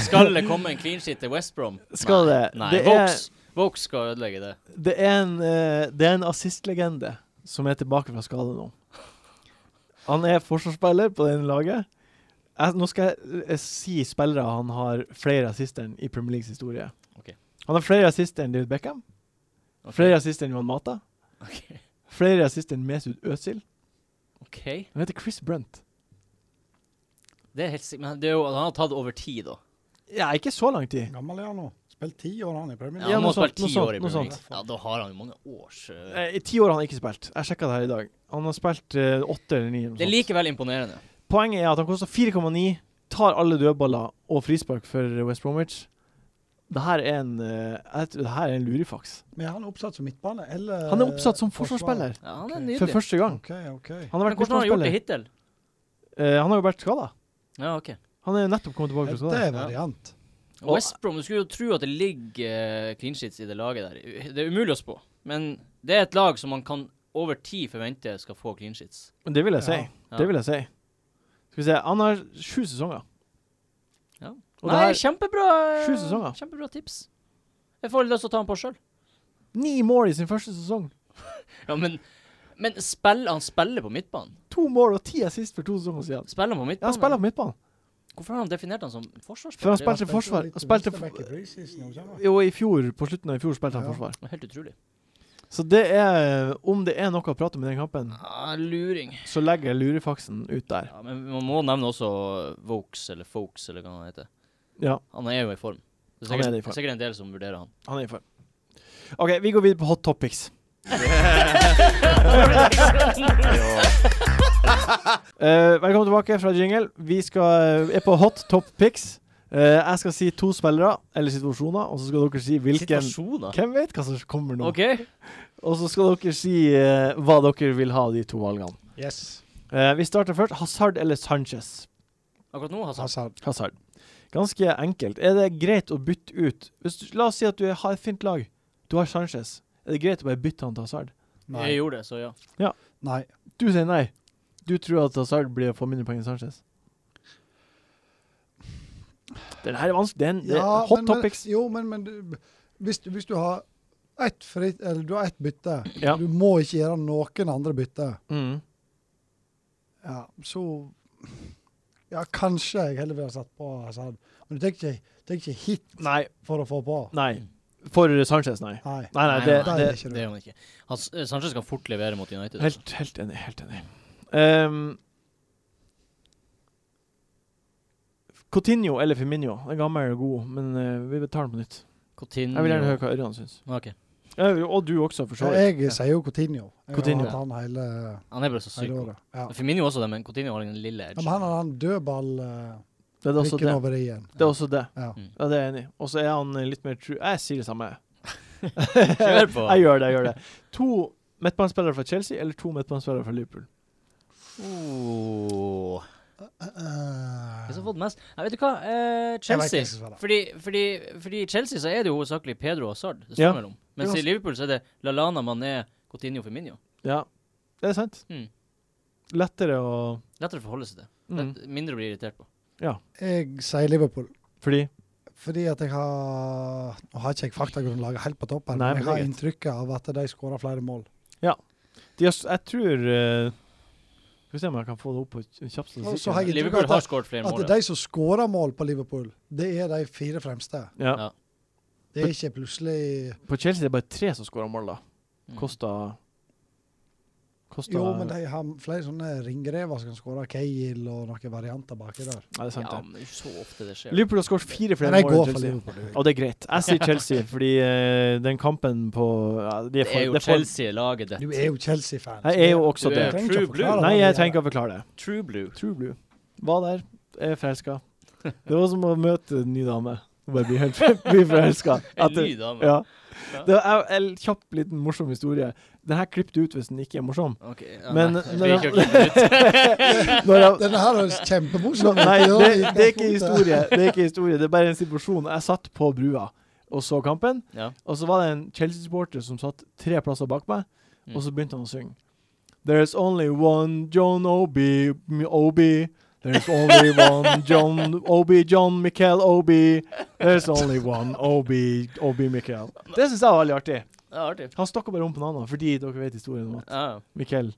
B: Skal det komme en clean sheet til West Brom?
A: Skal
B: Nei.
A: det?
B: Nei.
A: Det er-
B: Vokes, Vokes skal ødelegge det.
A: Det er en, eh, det er en assistlegende som er tilbake fra skade nå. Han er forsvarsspiller på det ene laget. Jeg, nå skal jeg eh, si spillere han har flere assister enn i Premier Leagues historie.
B: Ok.
A: Han har flere assister enn David Beckham,
B: Ok.
A: flere assister enn Johan Mata,
B: Ok.
A: flere assister enn Mesut Özil.
B: OK.
A: Han heter Chris Brunt.
B: Det er helt sikkert Men det er jo, han har tatt over tid, da.
A: Ja, ikke så lang tid.
D: Gammel er han nå. Spilt ti år, han i Premier
B: Ja,
A: Ja,
B: han
A: noe
B: må
D: League.
B: ha spilt
A: sånt,
B: ti
A: noe sånt, noe
B: år i Premier
D: sånt.
B: League. Ja, da har han jo mange års eh,
A: Eh, I ti år har han ikke spilt. Jeg sjekka det her i dag. Han har spilt eh, åtte eller ni. eller noe
B: Det er
A: sånt.
B: likevel imponerende.
A: Poenget er at han koster 4,9, tar alle dødballer og frispark for eh, West Bromwich. Det her er en, eh, jeg tror det her er en lurifaks.
D: Men er han oppsatt som midtbane, eller
A: Han er oppsatt som forsvarsspiller
B: Ja,
A: for
B: han er
D: Ok.
B: Eh, nydelig.
A: første gang.
D: OK, OK.
A: Han har
B: Men
A: vært
B: hvordan har han gjort det
A: midtbanespiller.
B: hittil?
A: Eh, han har jo vært skada.
B: Ja, ok.
A: Han er jo nettopp kommet tilbake fra
D: Dette
A: skade.
D: er variant.
B: Og West Brom, du skulle jo tro at det ligger eh, clean sheets i det laget der. Det er umulig å spå. Men det er et lag som man kan over tid forvente skal få clean sheets.
A: Men Det vil jeg si.
D: Ja.
B: Ja.
A: Det vil jeg si. Skal vi se, han har sju sesonger.
B: Ja.
A: Og
B: Nei,
A: det er
B: kjempebra eh,
A: Sju sesonger.
B: Kjempebra tips. Jeg får lyst til å ta han på sjøl.
A: ni mål i sin første sesong.
B: Ja, men men spill, han spiller på midtbanen.
A: To mål og ti assist for to sesonger siden.
B: Spiller han på
A: Ja, han
B: midtbanen?
A: spiller på midtbanen.
B: Hvorfor har han definert han som
A: For
B: forsvarsspiller?
A: han spilte forsvar. Han spilte
D: Venstreback i preseason, ikke sant?
A: jo, i fjor, på slutten av i fjor spilte han
D: Ja.
A: forsvar.
B: Det var Helt utrolig.
A: Så det er Om det er noe å prate om i den kampen,
B: Ah, luring.
A: så legger jeg lurefaksen ut der.
B: Ja, men man må nevne også Vokes, eller Folks, eller hva han heter.
A: Ja,
B: Han er jo i form. Det er
A: Han
B: sikkert,
A: er i form.
B: sikkert en del som vurderer han.
A: han er i form. OK, vi går videre på hot topics. (laughs) Eh, velkommen tilbake fra jingle. Vi skal, eh, er på hot top pics. Eh, jeg skal si to spillere eller situasjoner, og så skal dere si hvilken
B: Situasjoner.
A: Hvem vet hva som kommer nå?
B: OK.
A: Og så skal dere si eh, hva dere vil ha av de to valgene.
D: Yes.
A: Eh, vi starter først. Hazard eller Sanchez?
B: Akkurat nå,
A: Altså,
B: Hassan.
A: Hazard.
D: Hazard.
A: Ganske enkelt. Er det greit å bytte ut Hvis du, La oss si at du er- har et fint lag. Du har Sanchez. Er det greit å bare bytte han til Hazard?
D: Nei.
B: Jeg gjorde det, så ja.
D: Nei.
A: Du sier nei. Du tror at Hazard blir å få mindre poeng enn Sanchez? Det her er vanskelig. Det er en det er
D: Ja,
A: hot
D: men, eh,
A: topics.
D: Men, jo, men, men du, hvis, du- hvis du har ett fritt, eller du har ett bytte,
A: Ja.
D: du må ikke gjøre noen andre bytte,
A: Mm.
D: ja, så Ja, kanskje jeg heller ville ha satt på Hazard. Men du tenker ikke, tenker ikke hit
A: Nei.
D: for å få på?
A: Nei. For Sanchez, nei.
D: Nei.
A: Nei, nei, det,
D: nei,
A: det
D: det er ikke
B: Det gjør man ikke. Han, eh, Sanchez kan fort levere mot United. altså.
A: Helt, helt enig. Helt enig. Ehm, Coutinho eller Firmino. Den gamle er god, men eh, vi tar den på nytt.
B: Coutinho.
A: Jeg vil gjerne høre hva Ørjan syns.
B: Ok.
A: Ja, og du også, for så
D: Ja,
A: vidt.
D: jeg sier jo Coutinho. Jeg
A: Coutinho,
D: har hatt han hele,
B: Han er bare så syk.
D: hele
B: god.
D: året. Ja.
B: Men Firmino også det, men Coutinho har den lille
D: Ja,
B: edge.
D: men han har han dødball eh,
A: Det er også
D: prikken
A: det.
D: over i-en.
A: Det er også det.
D: Ja.
B: Mm.
A: Ja, det er jeg enig i. Og så er han eh, litt mer true. Jeg sier det samme.
B: (laughs) Kjør på.
A: Jeg gjør det. jeg gjør det. To midtbanespillere fra Chelsea eller to midtbanespillere fra Liverpool?
B: Oh. Hvem som har
D: Eh,
B: fått mest? Nei, vet du hva? Eh,
D: Jeg vet
B: Chelsea.
D: ikke hvem som svarer.
B: Fordi, fordi, fordi i Chelsea så er det jo hovedsakelig Pedro og Hazard det står
A: Ja.
B: mellom. Mens
A: Det er
B: i Liverpool så er det Lallana, Mané, Coutinho Firmino.
A: Ja, det er sant.
B: Mm.
A: Lettere å
B: Lettere å forholde seg til.
A: mm.
B: Lett- Mindre å bli irritert på.
D: jeg sier Liverpool.
A: Fordi
D: Fordi at jeg har Nå har ikke jeg faktagrunnlaget helt på topp, her,
A: Nei,
D: men
A: men
D: jeg
A: det
D: har
A: er
D: inntrykket av at de skårer flere mål.
A: de har, s- Jeg tror eh, Skal vi se om jeg kan få det opp på en kjapp
D: Og så har
A: statistikk.
D: jeg inntrykk
B: Liverpool
D: av
B: har
D: at,
B: skåret flere
D: at
B: mål.
D: Altså, de som skårer mål på Liverpool, det er de fire fremste.
A: Ja.
B: Ja.
D: Det er ikke plutselig
A: På Chelsea er det bare tre som skårer mål, da.
B: Mm.
A: Kosta Kosta
D: Jo, men de har flere sånne ringrever som kan skåre Cahill og noen varianter baki der.
A: Nei, det er sant,
B: Ja,
A: det.
B: men det er jo så ofte det skjer.
A: Liverpool har skåret fire
D: Men
A: flere
D: jeg går
A: mål enn
D: for
A: Chelsea.
D: Liverpool. jeg.
A: Og det er greit. Jeg
B: (laughs)
A: sier Chelsea, fordi eh, den kampen på ja, de
B: Det
A: er for,
B: er jo
A: det for-
B: Chelsea-laget ditt.
D: Du er jo Chelsea-fan.
A: Jeg er jo også
B: Du
A: det.
B: er
D: trenger
B: true
D: ikke å
B: blue.
D: forklare
A: Nei,
D: det.
A: jeg trenger
D: (laughs)
A: ikke å forklare det.
B: True blue.
A: True blue. Var der, er
B: (laughs)
A: forelska. Det var som å møte en ny dame. Og bare bli helt (laughs) bli forelska.
B: En ny dame.
A: Ja. Det var en en kjapp, liten morsom historie. Den her klippet du ut hvis den ikke er morsom.
B: Ok, ja,
A: Men-
B: nei, det
A: men-
B: blir ikke gjort litt
A: (laughs)
B: ut.
A: Når jeg,
D: Denne her er kjempemorsom.
A: nei,
D: Ja,
A: det,
D: jeg-
A: det er ikke historie. Det er ikke historie. Det er bare en situasjon. Jeg satt på brua og så kampen,
B: (laughs) ja.
A: og så var det en Chelsea-supporter som satt tre plasser bak meg,
B: Mm.
A: og så begynte han å synge. There's only one John Obi, M- Obi. There's only one John Obi, John Michael Obi. There's only one Obi, Obi Michael. Det syns jeg var veldig artig.
B: Det er artig.
A: Han stakk bare om på navnet fordi dere vet historien om at
B: Ja.
A: Michael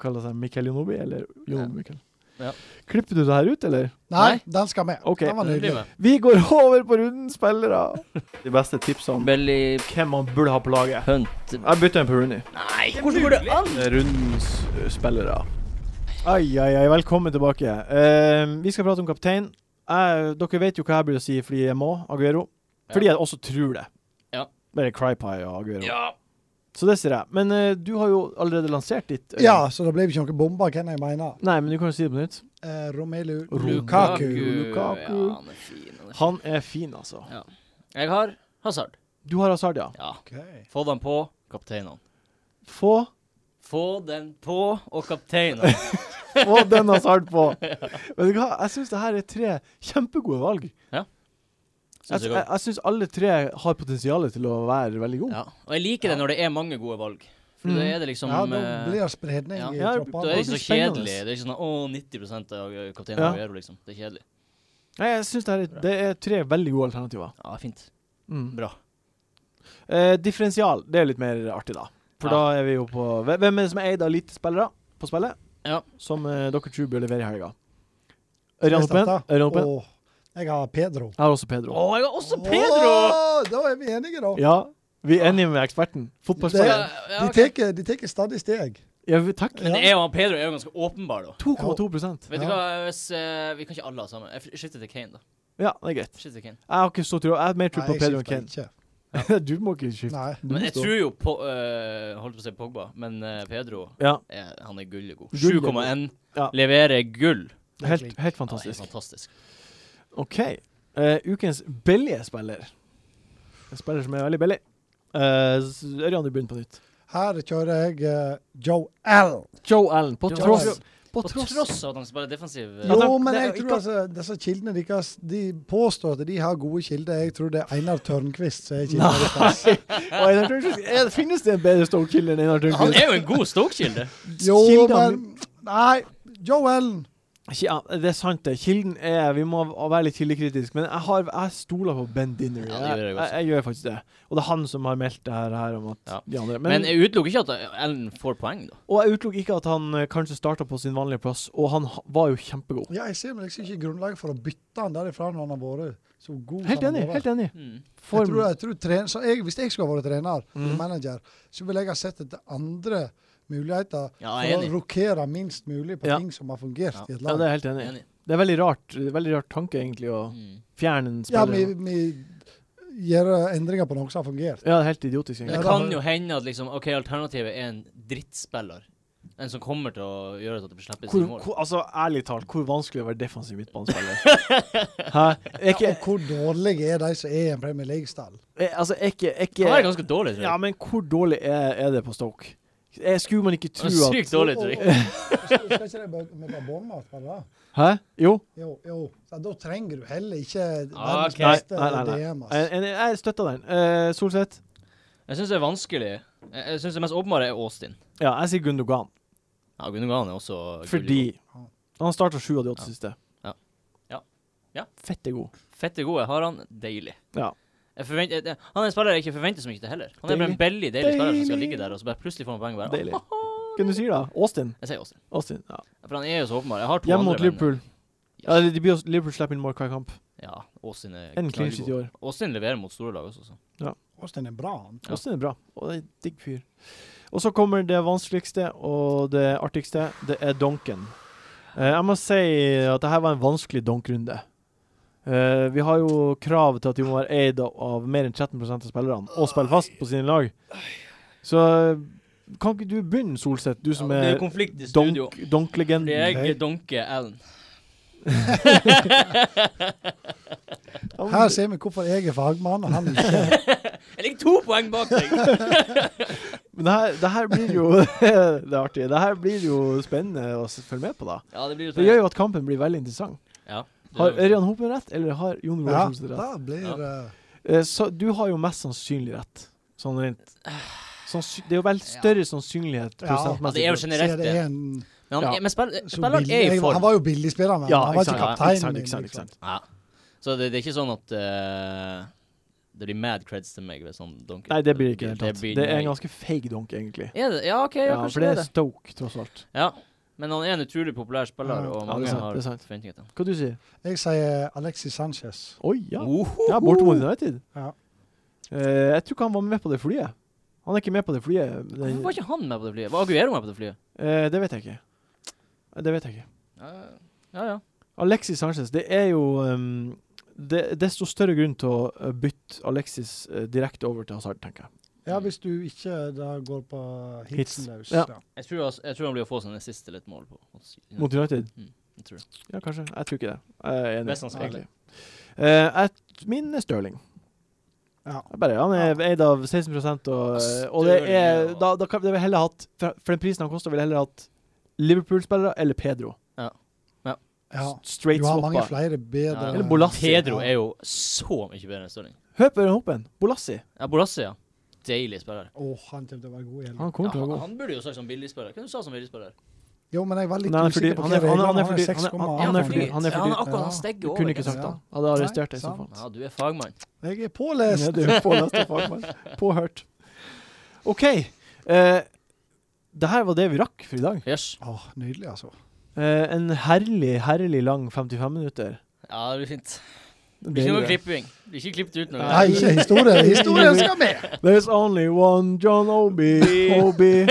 A: kaller seg Michael Jonobi, eller Jon
B: Ja.
A: Michael.
B: Ja.
A: Klipper du det her ut, eller?
D: Nei, den skal med.
A: Ok.
D: Den var
B: Det blir
D: nydelig.
B: med.
A: Vi går over på runden spillere. (laughs) De beste tipsene om
B: Belly
A: hvem man burde ha på laget.
B: Hunt
A: Jeg bytter en på Rooney.
B: Nei, hvordan går det an?
A: Rundens ø, spillere. Ai, ai, ai. Velkommen tilbake. Eh, vi skal prate om kaptein. Jeg, dere vet jo hva jeg burde si fordi jeg må, Aguero. Fordi jeg også tror det.
B: Ja.
A: Bare Crypie og Aguero.
B: Ja.
A: Så det sier jeg. Men eh, du har jo allerede lansert ditt. Øyvind.
D: Ja, så det blir ikke noen bomber, hvem jeg mener.
A: Nei, men du kan jo si det på nytt.
D: Eh, Romelu
A: Lukaku.
D: Lukaku.
A: Lukaku.
B: Ja, han er fin. Han er fin.
A: Han er fin, altså.
B: Jeg har Hazard.
A: Du har Hazard, ja.
B: Ja.
D: Ok.
B: Få den på kapteinene.
A: Få,
B: Få den på og
A: (laughs)
B: kapteinene.
A: få den Hazard på. Vet du hva, jeg syns det her er tre kjempegode valg. Jeg,
B: Synes jeg
A: jeg,
B: godt.
A: jeg syns alle tre har potensial til å være veldig gode.
B: Ja. Og jeg liker det når det er mange gode valg. For
A: Mm.
B: da er det liksom
D: Ja, da
B: eh,
D: blir det spredning
B: ja.
D: i
A: Ja,
B: Da er det
A: det
D: troppene.
A: blir
B: ikke så
A: spennende.
B: kjedelig. Det er ikke sånn å, 90 av eh, kapteinen
A: Ja.
B: Aguero, liksom. Det er kjedelig.
A: Nei, jeg synes det, her er, det er tre veldig gode alternativer.
B: Ja, fint.
A: Mm.
B: Bra.
A: Eh, differensial, det er litt mer artig, da. For
B: Ja.
A: da er vi jo på Hvem hvem er det som er eid av lite spillere på spillet?
B: Ja.
A: Som eh, dere tror bør levere i helga? Ørjan Oppen.
D: Jeg starter.
A: Ørjan Oppen.
D: Og jeg har Pedro.
A: Jeg har også Pedro.
B: Å, jeg har også Pedro!
D: Å, da er vi enige, da.
A: Ja, vi er enige med eksperten. Fotballspiller.
B: Ja, ja, ok.
D: De tar de tar stadig steg.
A: Ja, vi- takk.
D: Ja.
B: Men det er jo han Pedro er jo ganske åpenbar, da.
A: 2,2
B: Vet du
D: Ja.
B: hva, hvis eh, Vi kan ikke alle ha sammen. Jeg f- skifter til Kane, da.
A: Ja, det er greit.
B: Skifter til Kane.
A: Jeg har ikke så tro Jeg har mer tro
D: Nei,
A: på
D: jeg
A: Pedro enn
D: skifter
A: Kane.
D: ikke.
A: (laughs) du må ikke skifte.
D: Nei.
A: Du må
B: Men jeg
A: stå.
B: tror jo på eh, Holdt på å si Pogba, men eh, Pedro
A: Ja,
B: er, han er gullegod.
A: Gull er
B: 7,1.
A: Ja.
B: Leverer gull.
A: helt, helt
B: Ja, det er
A: fantastisk.
B: fantastisk.
A: OK. Eh, ukens billige spiller. En spiller som er veldig billig. Eh, s- Ørjan, du begynner på nytt.
D: Her kjører jeg eh, Joe L.
A: Joe Allen, på
B: Joe
A: tross
D: Allen.
A: På
B: På
A: tross
B: tross av at han spiller defensiv. eh,
A: Ja,
D: Jo,
A: det-
D: men
A: det er
D: jeg
A: jo
D: tror
A: ikke-
D: altså, disse kildene deres de påstår at de har gode kilder. Jeg tror det er Einar Tørnquist som er
A: (laughs)
D: kilden
A: Nei. (laughs)
D: deres.
A: Og Einar Tørnquist er- Finnes det en bedre Stoke-killer enn Einar
B: Han
A: Tørnquist?
B: er jo en god stokekilde.
D: Jo,
A: Kildene-
D: men Nei. Joe Ellen.
A: Ja, det er sant, det. Kilden er Vi må være litt kildekritisk. Men jeg, har, jeg stoler på Ben Dinner.
B: Ja, det gjør
A: jeg,
B: jeg også.
A: jeg, jeg gjør faktisk det. Og det er han som har meldt det her, her om at
B: Ja.
A: de andre
B: Men, jeg utelukker ikke at Ellen får poeng, da.
A: Og jeg utelukker ikke at han eh, kanskje starta på sin vanlige plass, og han ha- var jo kjempegod.
D: Ja, jeg ser men liksom ikke grunnlaget for å bytte han derifra når han har vært så god.
A: Helt
D: som han
A: enig.
D: har vært.
A: helt enig.
B: Mm.
A: Form.
D: Jeg tror, jeg tror tren- så jeg, hvis jeg skulle vært trener, eller
A: Mhm.
D: manager, så ville jeg ha sett etter andre muligheter
B: Ja, jeg er
D: for å
B: enig.
D: rokere minst mulig på
A: Ja.
D: ting som har fungert
B: Ja.
D: i et
A: Ja,
D: lag.
A: det er jeg helt enig. i.
B: Enig.
A: Det er veldig rart, veldig rart tanke, egentlig, å
B: Mm.
A: fjerne en
D: Ja,
A: spiller.
D: vi, vi gjør endringer på noe som har fungert.
A: Ja, det er helt idiotisk,
B: Men det
A: egentlig.
D: Ja, da-
B: kan jo hende at liksom, OK, alternativet er en drittspiller. En som kommer til å gjøre at det blir sluppet
A: Hvor,
B: i mål.
A: hvor, altså, ærlig talt, hvor vanskelig er det å være defensiv (laughs) midtbanespiller? Hæ? Er
D: Ja,
A: ikke,
D: og hvor dårlige er de som er i en Premier League-stall?
A: er, altså, er ikke, er
B: Han er
A: ikke
B: ganske dårlig, tror
A: Ja,
B: jeg.
A: men hvor dårlig er, er det på Stoke? Jeg skulle man ikke
B: Han
A: tro
B: er
A: at
B: sykt dårlig, tror jeg.
D: Skal ikke de bare- med bare Bournemouth bare da?
A: Hæ? Jo.
D: Jo, jo. Så da trenger du heller ikke
B: Ah,
D: verdens
B: ok.
D: beste altså.
A: Nei, nei, Eh, nei.
D: DM.
A: Jeg,
D: ass.
A: jeg, jeg støtter den. Eh, Solseth?
B: Jeg syns det er vanskelig. Jeg- Jeg syns det mest åpenbare er Austin.
A: Ja, jeg sier Gundogan.
B: Ja, Gundogan er også gull i
A: Fordi
B: går.
A: han starta sju av de åtte
B: Ja.
A: siste.
B: Ja. Ja. Ja.
A: Fette god.
B: Fette god. Jeg har han. Deilig.
A: Ja.
B: Jeg forventer, jeg, han er en spiller jeg ikke forventer så mye til heller. Han er bare en billig, deilig spiller som skal ligge der, og så bare plutselig får han poeng. og Bare,
A: Deilig. Hvem du sier da? Austin?
B: (laughs) Jeg sier Austin.
A: Austin, ja.
B: For han er jo så åpenbar. Jeg har to
A: Hjemme
B: andre,
A: mot Liverpool. Ja, de blir jo- Liverpool slipper inn mål hver kamp.
B: Men, ja, Austin er
A: En clean sheet i år.
B: knallgod. Austin leverer mot store lag også, så.
D: Austin er bra, han.
B: Ja.
A: Austin er bra. Og det er en digg fyr. Og så kommer det vanskeligste og det artigste. Det er donken. Eh, jeg må si at dette var en vanskelig donkrunde. Eh, vi har jo krav til at de må være eid av- av mer enn 13 av spillerne og spille fast på sine lag. Så eh, kan ikke du begynne, Solseth, du som
B: Ja, det er
A: er
B: jo konflikt i studio.
A: donk- donk-legenden?
B: Jeg
D: Ok.
B: donker Allen.
A: Ja, men
D: Her
A: du-
D: ser vi hvorfor jeg er fagmann og han (laughs) ikke.
B: Jeg ligger to poeng bak deg!
A: Men det her, det her blir jo (laughs) Det er artig. Det her blir jo spennende å s- følge med på, da.
B: (laughs) Ja, det blir jo
A: Det gjør jo at kampen blir veldig interessant.
B: Ja. det
A: Har
B: gjør det.
A: Ørjan Hopen rett, eller har Jon Roar
D: Ja,
A: Solseth rett?
D: da blir eh,
A: Eh, Så du har jo mest sannsynlig rett. Sånn rent sannsy- Det er jo vel større sannsynlighet
D: Ja.
B: ja, det er jo
A: prosentmessig.
B: generelt
D: ser
B: det.
D: det en
B: Men, han,
A: Ja.
B: men spill,
D: så
B: spilleren
D: billig-
B: er i
D: jeg- Han
B: form.
D: var jo billigspilleren, men
A: Ja,
D: han var
A: ikke
D: ikke
A: sant. ja,
D: kapteinen.
A: ikke sant,
D: min,
A: ikke sant, ikke
D: liksom.
A: sant.
B: Ja. Så det, det er ikke sånn at eh, det blir mad creds til meg ved sånn donker.
A: Nei, det blir ikke helt tatt.
B: blir
A: Det er
B: nei.
A: en ganske fake donk, egentlig.
B: Er det? Ja, OK, ja,
A: Ja, for
B: kanskje
A: det
B: det
A: er
B: er det.
A: Stoke, tross alt.
B: Ja. Men han er en utrolig populær spiller,
D: Ja.
B: og
A: Ja, det
B: mange
A: er sant,
B: har
A: det er sant.
B: forventninger til ham.
A: Hva du sier
D: Jeg sier Alexis Sanchez.
A: Oi, ja.
B: Oho!
A: Ja, borte mot United.
D: Ja.
A: Eh, jeg tror ikke han var med på det flyet. Han er ikke med på det flyet.
B: Hvorfor
A: Det,
B: var ikke han med på det flyet? Var Aguero med på det flyet?
A: eh, det vet jeg ikke. Eh, Det vet jeg ikke.
B: Ja, ja.
A: Alexis Sanchez, det er jo ehm, det, Desto større grunn til å eh, bytte Alexis eh, direkte over til Hazard, tenker jeg.
D: Ja, hvis du ikke da går på hitsen
A: Hits.
D: løs.
A: Ja.
D: ja.
B: Jeg tror, altså- jeg tror han blir å få sine siste litt mål på.
A: Mot United?
B: Jeg tror det.
A: Ja, kanskje. Jeg tror ikke det. Jeg er enig.
B: Mest sannsynlig.
A: egentlig. Eh, jeg- min er Stirling.
D: Ja.
A: Jeg Bare, han er eid av 16 og, eh, og det
B: Sterling,
A: er
B: ja.
A: da, da kan, det vil jeg heller hatt, for, for den prisen han koster, ville jeg heller hatt Liverpool-spillere eller Pedro.
D: ja.
A: S- Straight
D: Du har mange
A: swappa.
D: flere bedre
B: Ja.
A: Eller Bolassi.
B: Pedro er jo så mye bedre enn Stirling.
A: Hør på den hoppen. Bolassi.
B: Ja, Bolassi, ja. Deilig spiller.
D: Å, han kommer til å være god i helga.
A: Han kommer til å
B: Ja,
A: gå.
B: han, han burde jo sagt som billigspiller. Hva du sa du som billigspiller?
D: Jo, men jeg var litt
A: Nei, han er fordi-
D: usikker på
A: han
D: hva
A: er- han er-
D: reglene
A: han er
D: Han
A: fordi-
D: er
A: han er-
D: 6,8.
A: han er fordi- han er fordi-
B: han akkurat
D: Ja.
B: han stegger
A: Du
B: over.
A: kunne ikke sagt
D: Ja.
A: det. Jeg hadde arrestert deg i så
D: sant.
A: fall.
B: liksom. Ja, du er fagmann.
D: Jeg er
A: Ja,
D: pålest.
A: det er pålest og fagmann. Påhørt. OK. Eh, det her var det vi rakk for i dag.
B: Yes.
D: Å, nydelig, altså.
A: Eh, en herlig, herlig lang 55 minutter.
B: Ja, det blir fint. Det blir ikke noe klipping. Det blir ikke klippet ut noe.
D: Nei, ikke
A: (laughs)
D: historie. Historien skal med!
A: There's only one John Obi.
B: (laughs)
A: Obi.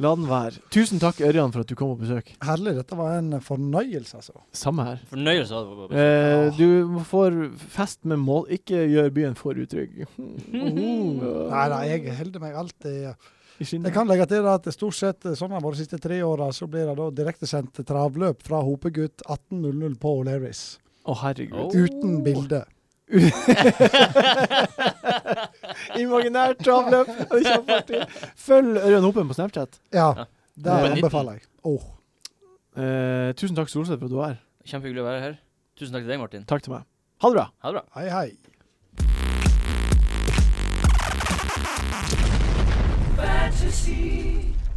A: La den være. Tusen takk, Ørjan, for at du kom på besøk.
D: Herlig. Dette var en fornøyelse, altså.
A: Samme her.
B: Fornøyelse av det. Bob.
A: Eh, du får fest med mål. Ikke gjør byen for
B: (laughs)
A: utrygg.
D: Nei da, jeg holder meg alltid
A: I
D: Jeg
A: skinnet.
D: kan legge til at stort sett eh, sånn har det vært de siste tre åra, så blir det da direktesendt travløp fra Hopegutt 18.00 på O'Lerris.
A: Å, herregud.
B: Oh.
D: Uten bilde.
A: Imaginært travløp. Det er kjempeartig. Følg Ørjan Hopen på Snapchat.
D: Ja, det
A: Hoppe
B: 19.
D: anbefaler jeg. Åh,
A: Eh, tusen takk, Solseth, for at du var her.
B: Kjempehyggelig å være her. Tusen takk til deg, Martin.
A: Takk til meg. Ha det bra.
B: Ha det bra.
D: hei, hei.
C: fantasy.